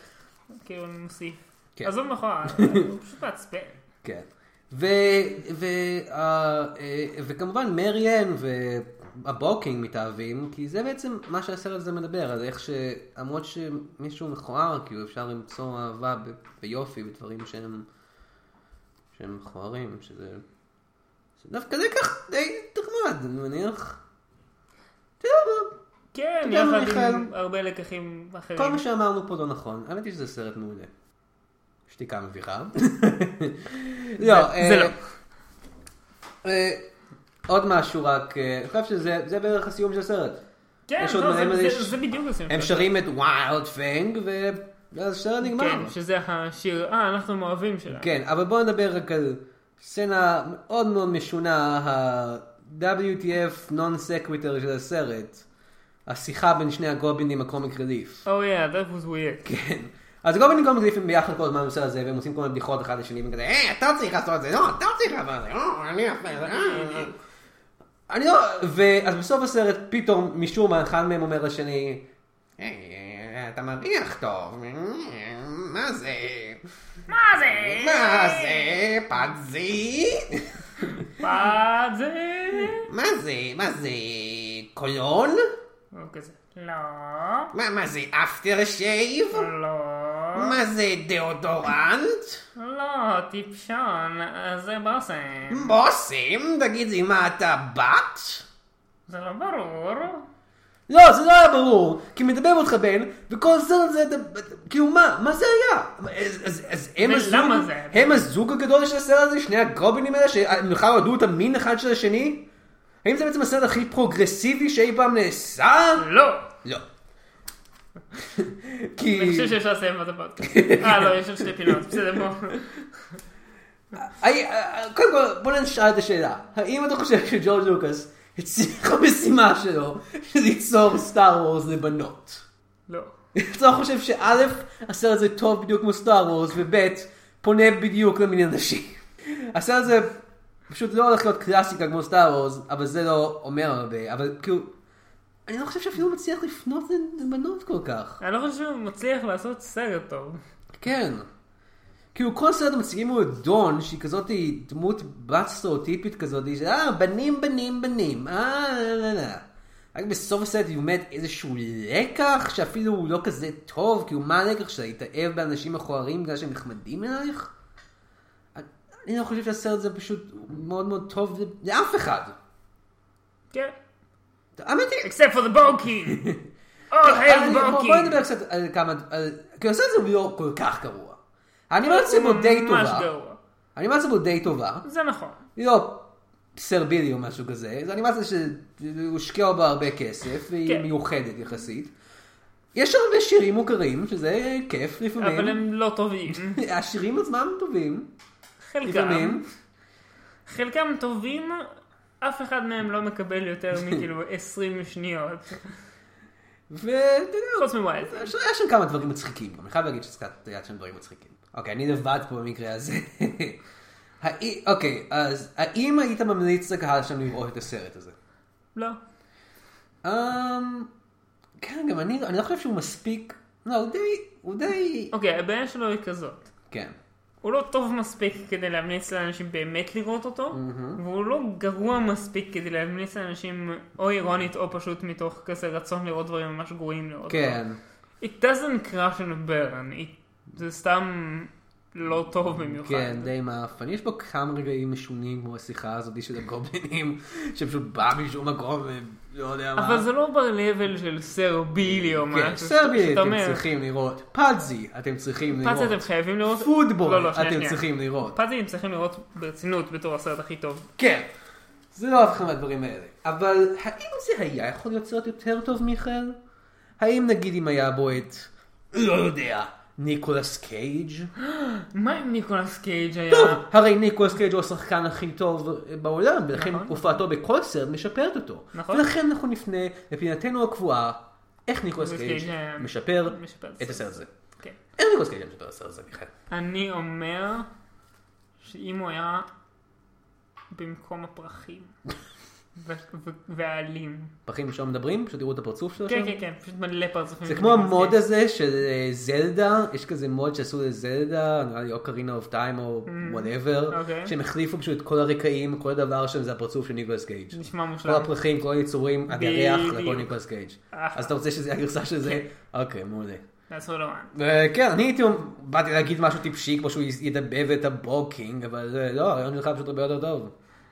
[SPEAKER 2] כאילו אני מוסיף.
[SPEAKER 1] כן.
[SPEAKER 2] עזוב נכון, הוא פשוט מעצבן.
[SPEAKER 1] כן. ו, ו, אה, אה, וכמובן מריאן והבוקינג מתאהבים, כי זה בעצם מה שהסרט הזה מדבר, על איך שלמרות שמישהו מכוער, כאילו אפשר למצוא אהבה ב, ביופי, בדברים שהם, שהם מכוערים, שזה... זה דווקא זה כך די נחמד, אני מניח. אתה יודע מה,
[SPEAKER 2] כן,
[SPEAKER 1] יודע מה,
[SPEAKER 2] יחד עם
[SPEAKER 1] מיכאל?
[SPEAKER 2] הרבה לקחים
[SPEAKER 1] כל
[SPEAKER 2] אחרים.
[SPEAKER 1] מה שאמרנו פה לא נכון, האמת היא שזה סרט מעולה. שתיקה מביכה. לא,
[SPEAKER 2] זה
[SPEAKER 1] אה,
[SPEAKER 2] לא.
[SPEAKER 1] אה, עוד משהו רק, אה, אני חושב שזה זה בערך הסיום של הסרט.
[SPEAKER 2] כן,
[SPEAKER 1] יש עוד
[SPEAKER 2] לא,
[SPEAKER 1] מלא מלא
[SPEAKER 2] זה-
[SPEAKER 1] ש-
[SPEAKER 2] זה זה בדיוק הסיום.
[SPEAKER 1] הם
[SPEAKER 2] שלו.
[SPEAKER 1] שרים את ויילד פנג, ואז הסרט נגמר.
[SPEAKER 2] כן, שזה השיר, אה, אנחנו מאוהבים שלה.
[SPEAKER 1] כן, אבל בואו נדבר רק על סצנה מאוד מאוד משונה, ה-WTF non-sequitur של הסרט. השיחה בין שני הגובלינים הקומיק רליף.
[SPEAKER 2] Oh yeah, that was weird.
[SPEAKER 1] כן. אז הגובלינים קומיק רליף הם ביחד כל הזמן בנושא הזה, והם עושים כל מיני בדיחות אחד לשני, וכזה, היי, אתה צריך לעשות את זה, לא, אתה צריך לעשות את זה, לא, אני אעשה את זה, אה, אה." אני לא... ואז בסוף הסרט, פתאום, משום מה, אחד מהם אומר לשני, היי, אתה מריח טוב, אה, מה זה?
[SPEAKER 2] מה זה?
[SPEAKER 1] מה זה? פאדזי?
[SPEAKER 2] מה זה?
[SPEAKER 1] מה זה? מה זה? קולון?
[SPEAKER 2] או כזה. לא,
[SPEAKER 1] מה, מה זה? אפטר שייב?
[SPEAKER 2] לא,
[SPEAKER 1] מה זה? דאודורנט?
[SPEAKER 2] לא, טיפשון, זה לא בושם.
[SPEAKER 1] בושם? תגיד לי, מה אתה בת?
[SPEAKER 2] זה לא ברור.
[SPEAKER 1] לא, זה לא היה ברור, כי מדבר אותך בן, וכל סרט זה, כאילו מה, מה זה היה? אז, אז, אז הם
[SPEAKER 2] ולמה
[SPEAKER 1] הזוג,
[SPEAKER 2] זה היה?
[SPEAKER 1] הם הזוג הגדול של הסרט הזה, שני הגובלים האלה, שהם בכלל אוהדו את המין אחד של השני? האם זה בעצם הסרט הכי פרוגרסיבי שאי פעם נעשה?
[SPEAKER 2] לא.
[SPEAKER 1] לא. כי...
[SPEAKER 2] אני חושב שאפשר לסיים את הפודקאסט. אה, לא, יש עוד שתי פינות, בסדר, בוא.
[SPEAKER 1] היי, אה, קודם כל, בוא נשאל את השאלה. האם אתה חושב שג'ורג' לוקאס הצליח במשימה שלו ליצור סטאר וורס לבנות?
[SPEAKER 2] לא.
[SPEAKER 1] אתה חושב שא', הסרט הזה טוב בדיוק כמו סטאר וורס, וב', פונה בדיוק למיני אנשים. הסרט הזה פשוט לא הולך להיות קלאסיקה כמו סטאר וורס, אבל זה לא אומר הרבה, אבל כאילו... אני לא חושב שאפילו הוא מצליח לפנות לבנות כל כך.
[SPEAKER 2] אני לא חושב שהוא מצליח לעשות סרט טוב.
[SPEAKER 1] כן. כאילו כל סרט מציגים לו את דון, שהיא כזאת דמות בת סטריאוטיפית כזאת, של אה, בנים, בנים, בנים, אה, לא, לא, לא. רק בסוף הסרט היא לומדת איזשהו לקח, שאפילו הוא לא כזה טוב, כאילו מה הלקח שלה? להתאהב באנשים מכוערים בגלל שהם נחמדים אלייך? אני- אני לא חושב שהסרט הזה פשוט מאוד מאוד טוב לאף אחד.
[SPEAKER 2] כן.
[SPEAKER 1] האמת היא,
[SPEAKER 2] except for the Oh, bulky. All hail
[SPEAKER 1] אני-
[SPEAKER 2] the
[SPEAKER 1] בוא- בוא
[SPEAKER 2] bulky.
[SPEAKER 1] נדבר קצת על כמה, על- כי הסרט הזה הוא לא כל כך גרוע. אני אומר לעצמו די
[SPEAKER 2] ממש
[SPEAKER 1] טובה.
[SPEAKER 2] גרוע.
[SPEAKER 1] האנימציה בו די טובה,
[SPEAKER 2] זה נכון.
[SPEAKER 1] היא לא סרבילי או משהו כזה, זו אנימציה שהושקע בה הרבה כסף, והיא
[SPEAKER 2] כן.
[SPEAKER 1] מיוחדת יחסית. יש הרבה שירים מוכרים, שזה כיף לפעמים.
[SPEAKER 2] אבל הם לא טובים.
[SPEAKER 1] השירים עצמם טובים,
[SPEAKER 2] חלקם.
[SPEAKER 1] לפעמים.
[SPEAKER 2] חלקם טובים, אף אחד מהם לא מקבל יותר מכאילו 20 שניות.
[SPEAKER 1] ואתה יודע,
[SPEAKER 2] חוץ מווילד.
[SPEAKER 1] היה שם כמה דברים מצחיקים, גם אני חייב להגיד שזה קצת היה שם דברים מצחיקים. אוקיי, אני לבד פה במקרה הזה. האי- אוקיי, אז האם היית ממליץ לקהל שם לראות את הסרט הזה?
[SPEAKER 2] לא.
[SPEAKER 1] אמ... כן, גם אני, אני לא חושב שהוא מספיק, לא, הוא די, הוא די,
[SPEAKER 2] אוקיי, הבעיה שלו היא כזאת.
[SPEAKER 1] כן.
[SPEAKER 2] הוא לא טוב מספיק כדי להמליץ לאנשים באמת לראות אותו, והוא לא גרוע מספיק כדי להמליץ לאנשים או אירונית או פשוט מתוך כזה רצון לראות דברים ממש גרועים לראות אותו.
[SPEAKER 1] כן.
[SPEAKER 2] It doesn't crash and burn, It- זה סתם לא טוב במיוחד.
[SPEAKER 1] כן, די מעפן. יש בו כמה רגעים משונים כמו השיחה הזאת של הגובלינים, שפשוט בא משום מקום ולא יודע מה.
[SPEAKER 2] אבל זה לא ב-level של סרבילי או
[SPEAKER 1] כן,
[SPEAKER 2] משהו.
[SPEAKER 1] סרבי
[SPEAKER 2] שאתה
[SPEAKER 1] אתם
[SPEAKER 2] אומר,
[SPEAKER 1] צריכים לראות, פאדזי אתם צריכים לראות,
[SPEAKER 2] פאצי אתם חייבים לראות.
[SPEAKER 1] פודבול
[SPEAKER 2] לא, לא, שנייה,
[SPEAKER 1] אתם
[SPEAKER 2] שנייה.
[SPEAKER 1] צריכים לראות.
[SPEAKER 2] פאצי אתם צריכים לראות ברצינות בתור הסרט הכי טוב.
[SPEAKER 1] כן. זה לא אף אחד מהדברים האלה. אבל האם זה היה יכול להיות סרט יותר טוב, מיכאל? האם נגיד אם היה בו את, לא יודע, ניקולס קייג'?
[SPEAKER 2] מה אם ניקולס קייג' היה?
[SPEAKER 1] טוב, הרי ניקולס קייג' הוא השחקן הכי טוב בעולם, ולכן
[SPEAKER 2] נכון.
[SPEAKER 1] הופעתו בכל סרט משפרת אותו.
[SPEAKER 2] נכון.
[SPEAKER 1] ולכן אנחנו נפנה לפינתנו הקבועה, איך ניקולס
[SPEAKER 2] ניקולס
[SPEAKER 1] קייג'
[SPEAKER 2] קייג' היה-
[SPEAKER 1] משפר
[SPEAKER 2] משפר את
[SPEAKER 1] את
[SPEAKER 2] הסרט
[SPEAKER 1] הסרט הזה.
[SPEAKER 2] כן.
[SPEAKER 1] איך ניקולס קייג' היה משפר את הסרט הזה, מיכאל?
[SPEAKER 2] אני אומר שאם הוא היה במקום הפרחים ו- ו- והעלים.
[SPEAKER 1] פרחים שלא לא מדברים, פשוט תראו את הפרצוף שלו
[SPEAKER 2] כן,
[SPEAKER 1] שם.
[SPEAKER 2] כן, כן, פשוט מלא פרצופים.
[SPEAKER 1] לא זה
[SPEAKER 2] של
[SPEAKER 1] כמו
[SPEAKER 2] ניקולס
[SPEAKER 1] המוד
[SPEAKER 2] קייג'.
[SPEAKER 1] הזה של אה, זלדה, יש כזה מוד שעשו לזלדה, נראה לי אוקרינה אוף טיים או וואטאבר,
[SPEAKER 2] Mm, אוקיי.
[SPEAKER 1] שהם החליפו פשוט את כל הרקעים, כל הדבר שם זה הפרצוף של ניקולס קייג'.
[SPEAKER 2] נשמע
[SPEAKER 1] כל
[SPEAKER 2] מושלם.
[SPEAKER 1] הפרחים, כל היצורים, עד הירח, זה הכל
[SPEAKER 2] בדיוק.
[SPEAKER 1] ניקולס קייג'.
[SPEAKER 2] אה.
[SPEAKER 1] אז אתה רוצה שזה יהיה הגרסה של זה? אוקיי, מעולה.
[SPEAKER 2] לעשות אומן.
[SPEAKER 1] אה, כן, אני הייתי, באתי להגיד משהו טיפשי, כמו שהוא ידבב את הבוקינג, אבל אה, לא, הרעיון שלך פשוט הרבה יותר טוב.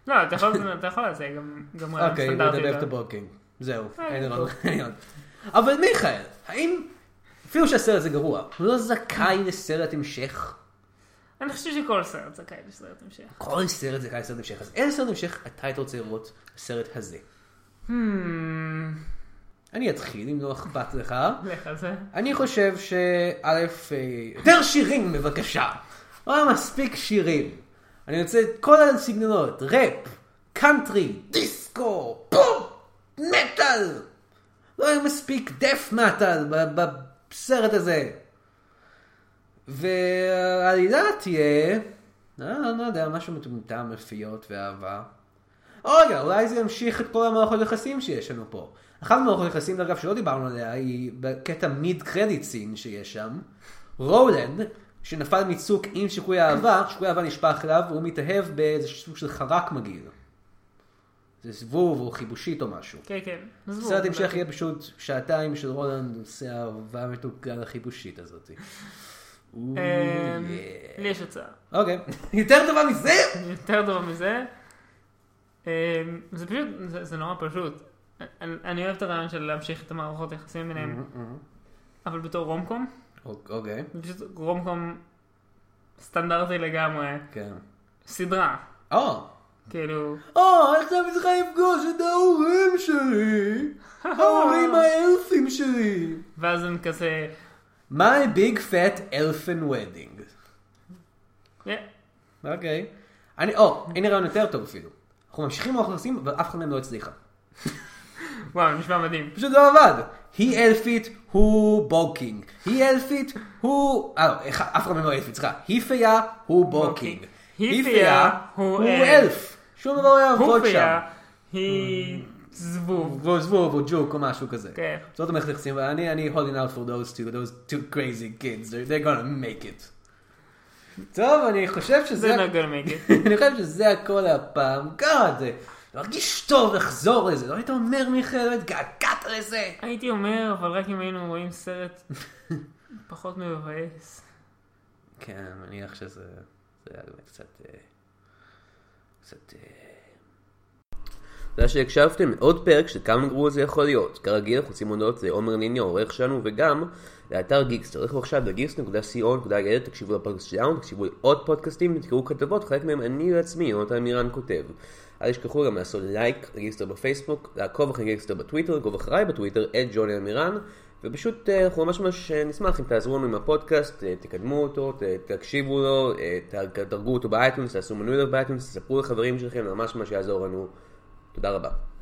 [SPEAKER 2] לא, אתה יכול- אתה יכול לעשות גם גם רעיון
[SPEAKER 1] אוקיי, הוא
[SPEAKER 2] סטנדרטי.
[SPEAKER 1] ידבב את
[SPEAKER 2] אבל-
[SPEAKER 1] הבוקינג. זהו,
[SPEAKER 2] אה,
[SPEAKER 1] אין
[SPEAKER 2] טוב.
[SPEAKER 1] עוד. אין עוד. אבל מיכאל, האם, אפילו שהסרט הזה גרוע, הוא לא זכאי לסרט המשך?
[SPEAKER 2] אני חושב שכל סרט זכאי לסרט המשך.
[SPEAKER 1] כל סרט זה כאן סרט המשך. אז איזה סרט המשך אתה היית רוצה לראות בסרט הזה? Hmm. אני אתחיל אם לא אכפת לך.
[SPEAKER 2] לך על זה.
[SPEAKER 1] אני חושב שא', אה, יותר שירים בבקשה. לא היה מספיק שירים. אני רוצה את כל הסגנונות, ראפ, קאנטרי, דיסקו, פופ, מטאל. לא היה מספיק דף מטאל ב- בסרט הזה. והעלילה תהיה, אה, לא יודע, משהו מטומטם, מפיות ואהבה. רגע, אולי זה ימשיך את כל המערכות יחסים שיש לנו פה. אחת מהמערכות יחסים, אגב, שלא דיברנו עליה, היא בקטע מיד קרדיט סין שיש שם. רולנד, שנפל מצוק עם שיקוי אהבה, שיקוי אהבה נשפך אליו, והוא מתאהב באיזה סוג של חרק מגעיל. זה זבוב או חיבושית או משהו.
[SPEAKER 2] כן, כן. עזבו.
[SPEAKER 1] סרט המשך יהיה פשוט שעתיים של רולנד עושה אהבה מתוקה לחיבושית הזאת. אוו,
[SPEAKER 2] אה,
[SPEAKER 1] yeah.
[SPEAKER 2] לי יש הצעה.
[SPEAKER 1] אוקיי, יותר טובה מזה?
[SPEAKER 2] יותר טוב מזה. אה, זה פשוט, זה זה נורא פשוט. אני- אני אוהב את הרעיון של להמשיך את המערכות היחסים ביניהם, אבל בתור רומקום,
[SPEAKER 1] אוקיי,
[SPEAKER 2] זה פשוט רומקום סטנדרטי לגמרי,
[SPEAKER 1] כן.
[SPEAKER 2] סדרה,
[SPEAKER 1] או,
[SPEAKER 2] כאילו,
[SPEAKER 1] או, עכשיו אני צריכה לפגוש את ההורים שלי! ההורים האלפים שלי!
[SPEAKER 2] ואז הם כזה,
[SPEAKER 1] My big fat elfin wedding.
[SPEAKER 2] אה,
[SPEAKER 1] אוקיי. אני, או, הנה רעיון יותר טוב אפילו. אנחנו ממשיכים אנחנו עושים, אבל אף אחד מהם לא הצליחה.
[SPEAKER 2] וואו, נשמע מדהים.
[SPEAKER 1] פשוט לא עבד. היא אלפית, הוא בוקינג. היא אלפית, הוא... אה, לא, אחד- אף אחד מהם לא אלפית, סליחה. היא פייה, הוא בוקינג.
[SPEAKER 2] היא פייה, הוא אלף.
[SPEAKER 1] שום דבר לא יעבוד שם.
[SPEAKER 2] הופיה היא זבוב.
[SPEAKER 1] והוא זבוב או לא, ג'וק או משהו כזה.
[SPEAKER 2] כן.
[SPEAKER 1] זאת המערכת יחסים, ואני אני holding out for those two, those two crazy kids, they're, they're gonna make it. טוב, אני חושב שזה...
[SPEAKER 2] זה נגל מגד.
[SPEAKER 1] אני חושב שזה הכל הפעם. גאד, זה מרגיש טוב לחזור לזה. לא היית אומר מיכאל, לא התגעגעת לזה.
[SPEAKER 2] הייתי אומר, אבל רק אם היינו רואים סרט פחות מבאס.
[SPEAKER 1] כן, אני מניח שזה... זה היה באמת קצת... אה, קצת... אה,
[SPEAKER 5] תודה שהקשבתם לעוד פרק של כמה גרוע זה יכול להיות. כרגיל אנחנו רוצים להודות לעומר ניני העורך שלנו וגם לאתר גיקס. תלכו עכשיו לגיגס.co.il, תקשיבו לפודקאסט שלנו, תקשיבו לעוד פודקאסטים, תקראו כתבות, חלק מהם אני לעצמי, יונתן מירן כותב. אל תשכחו גם לעשות לייק לגיגסטר בפייסבוק, לעקוב אחרי גיגסטר בטוויטר, לעקוב אחריי בטוויטר, את ג'וני אמירן, ופשוט אה, אנחנו ממש ממש אה, נשמח אם תעזרו לנו עם הפודקאסט, אה, תקדמו אותו, ת- תקשיבו לו, אה, ת- תדרגו אותו באייטונס, תעשו מנוי לו באייטונס, תספרו לחברים שלכם, זה ממש ממש יעזור לנו. תודה רבה.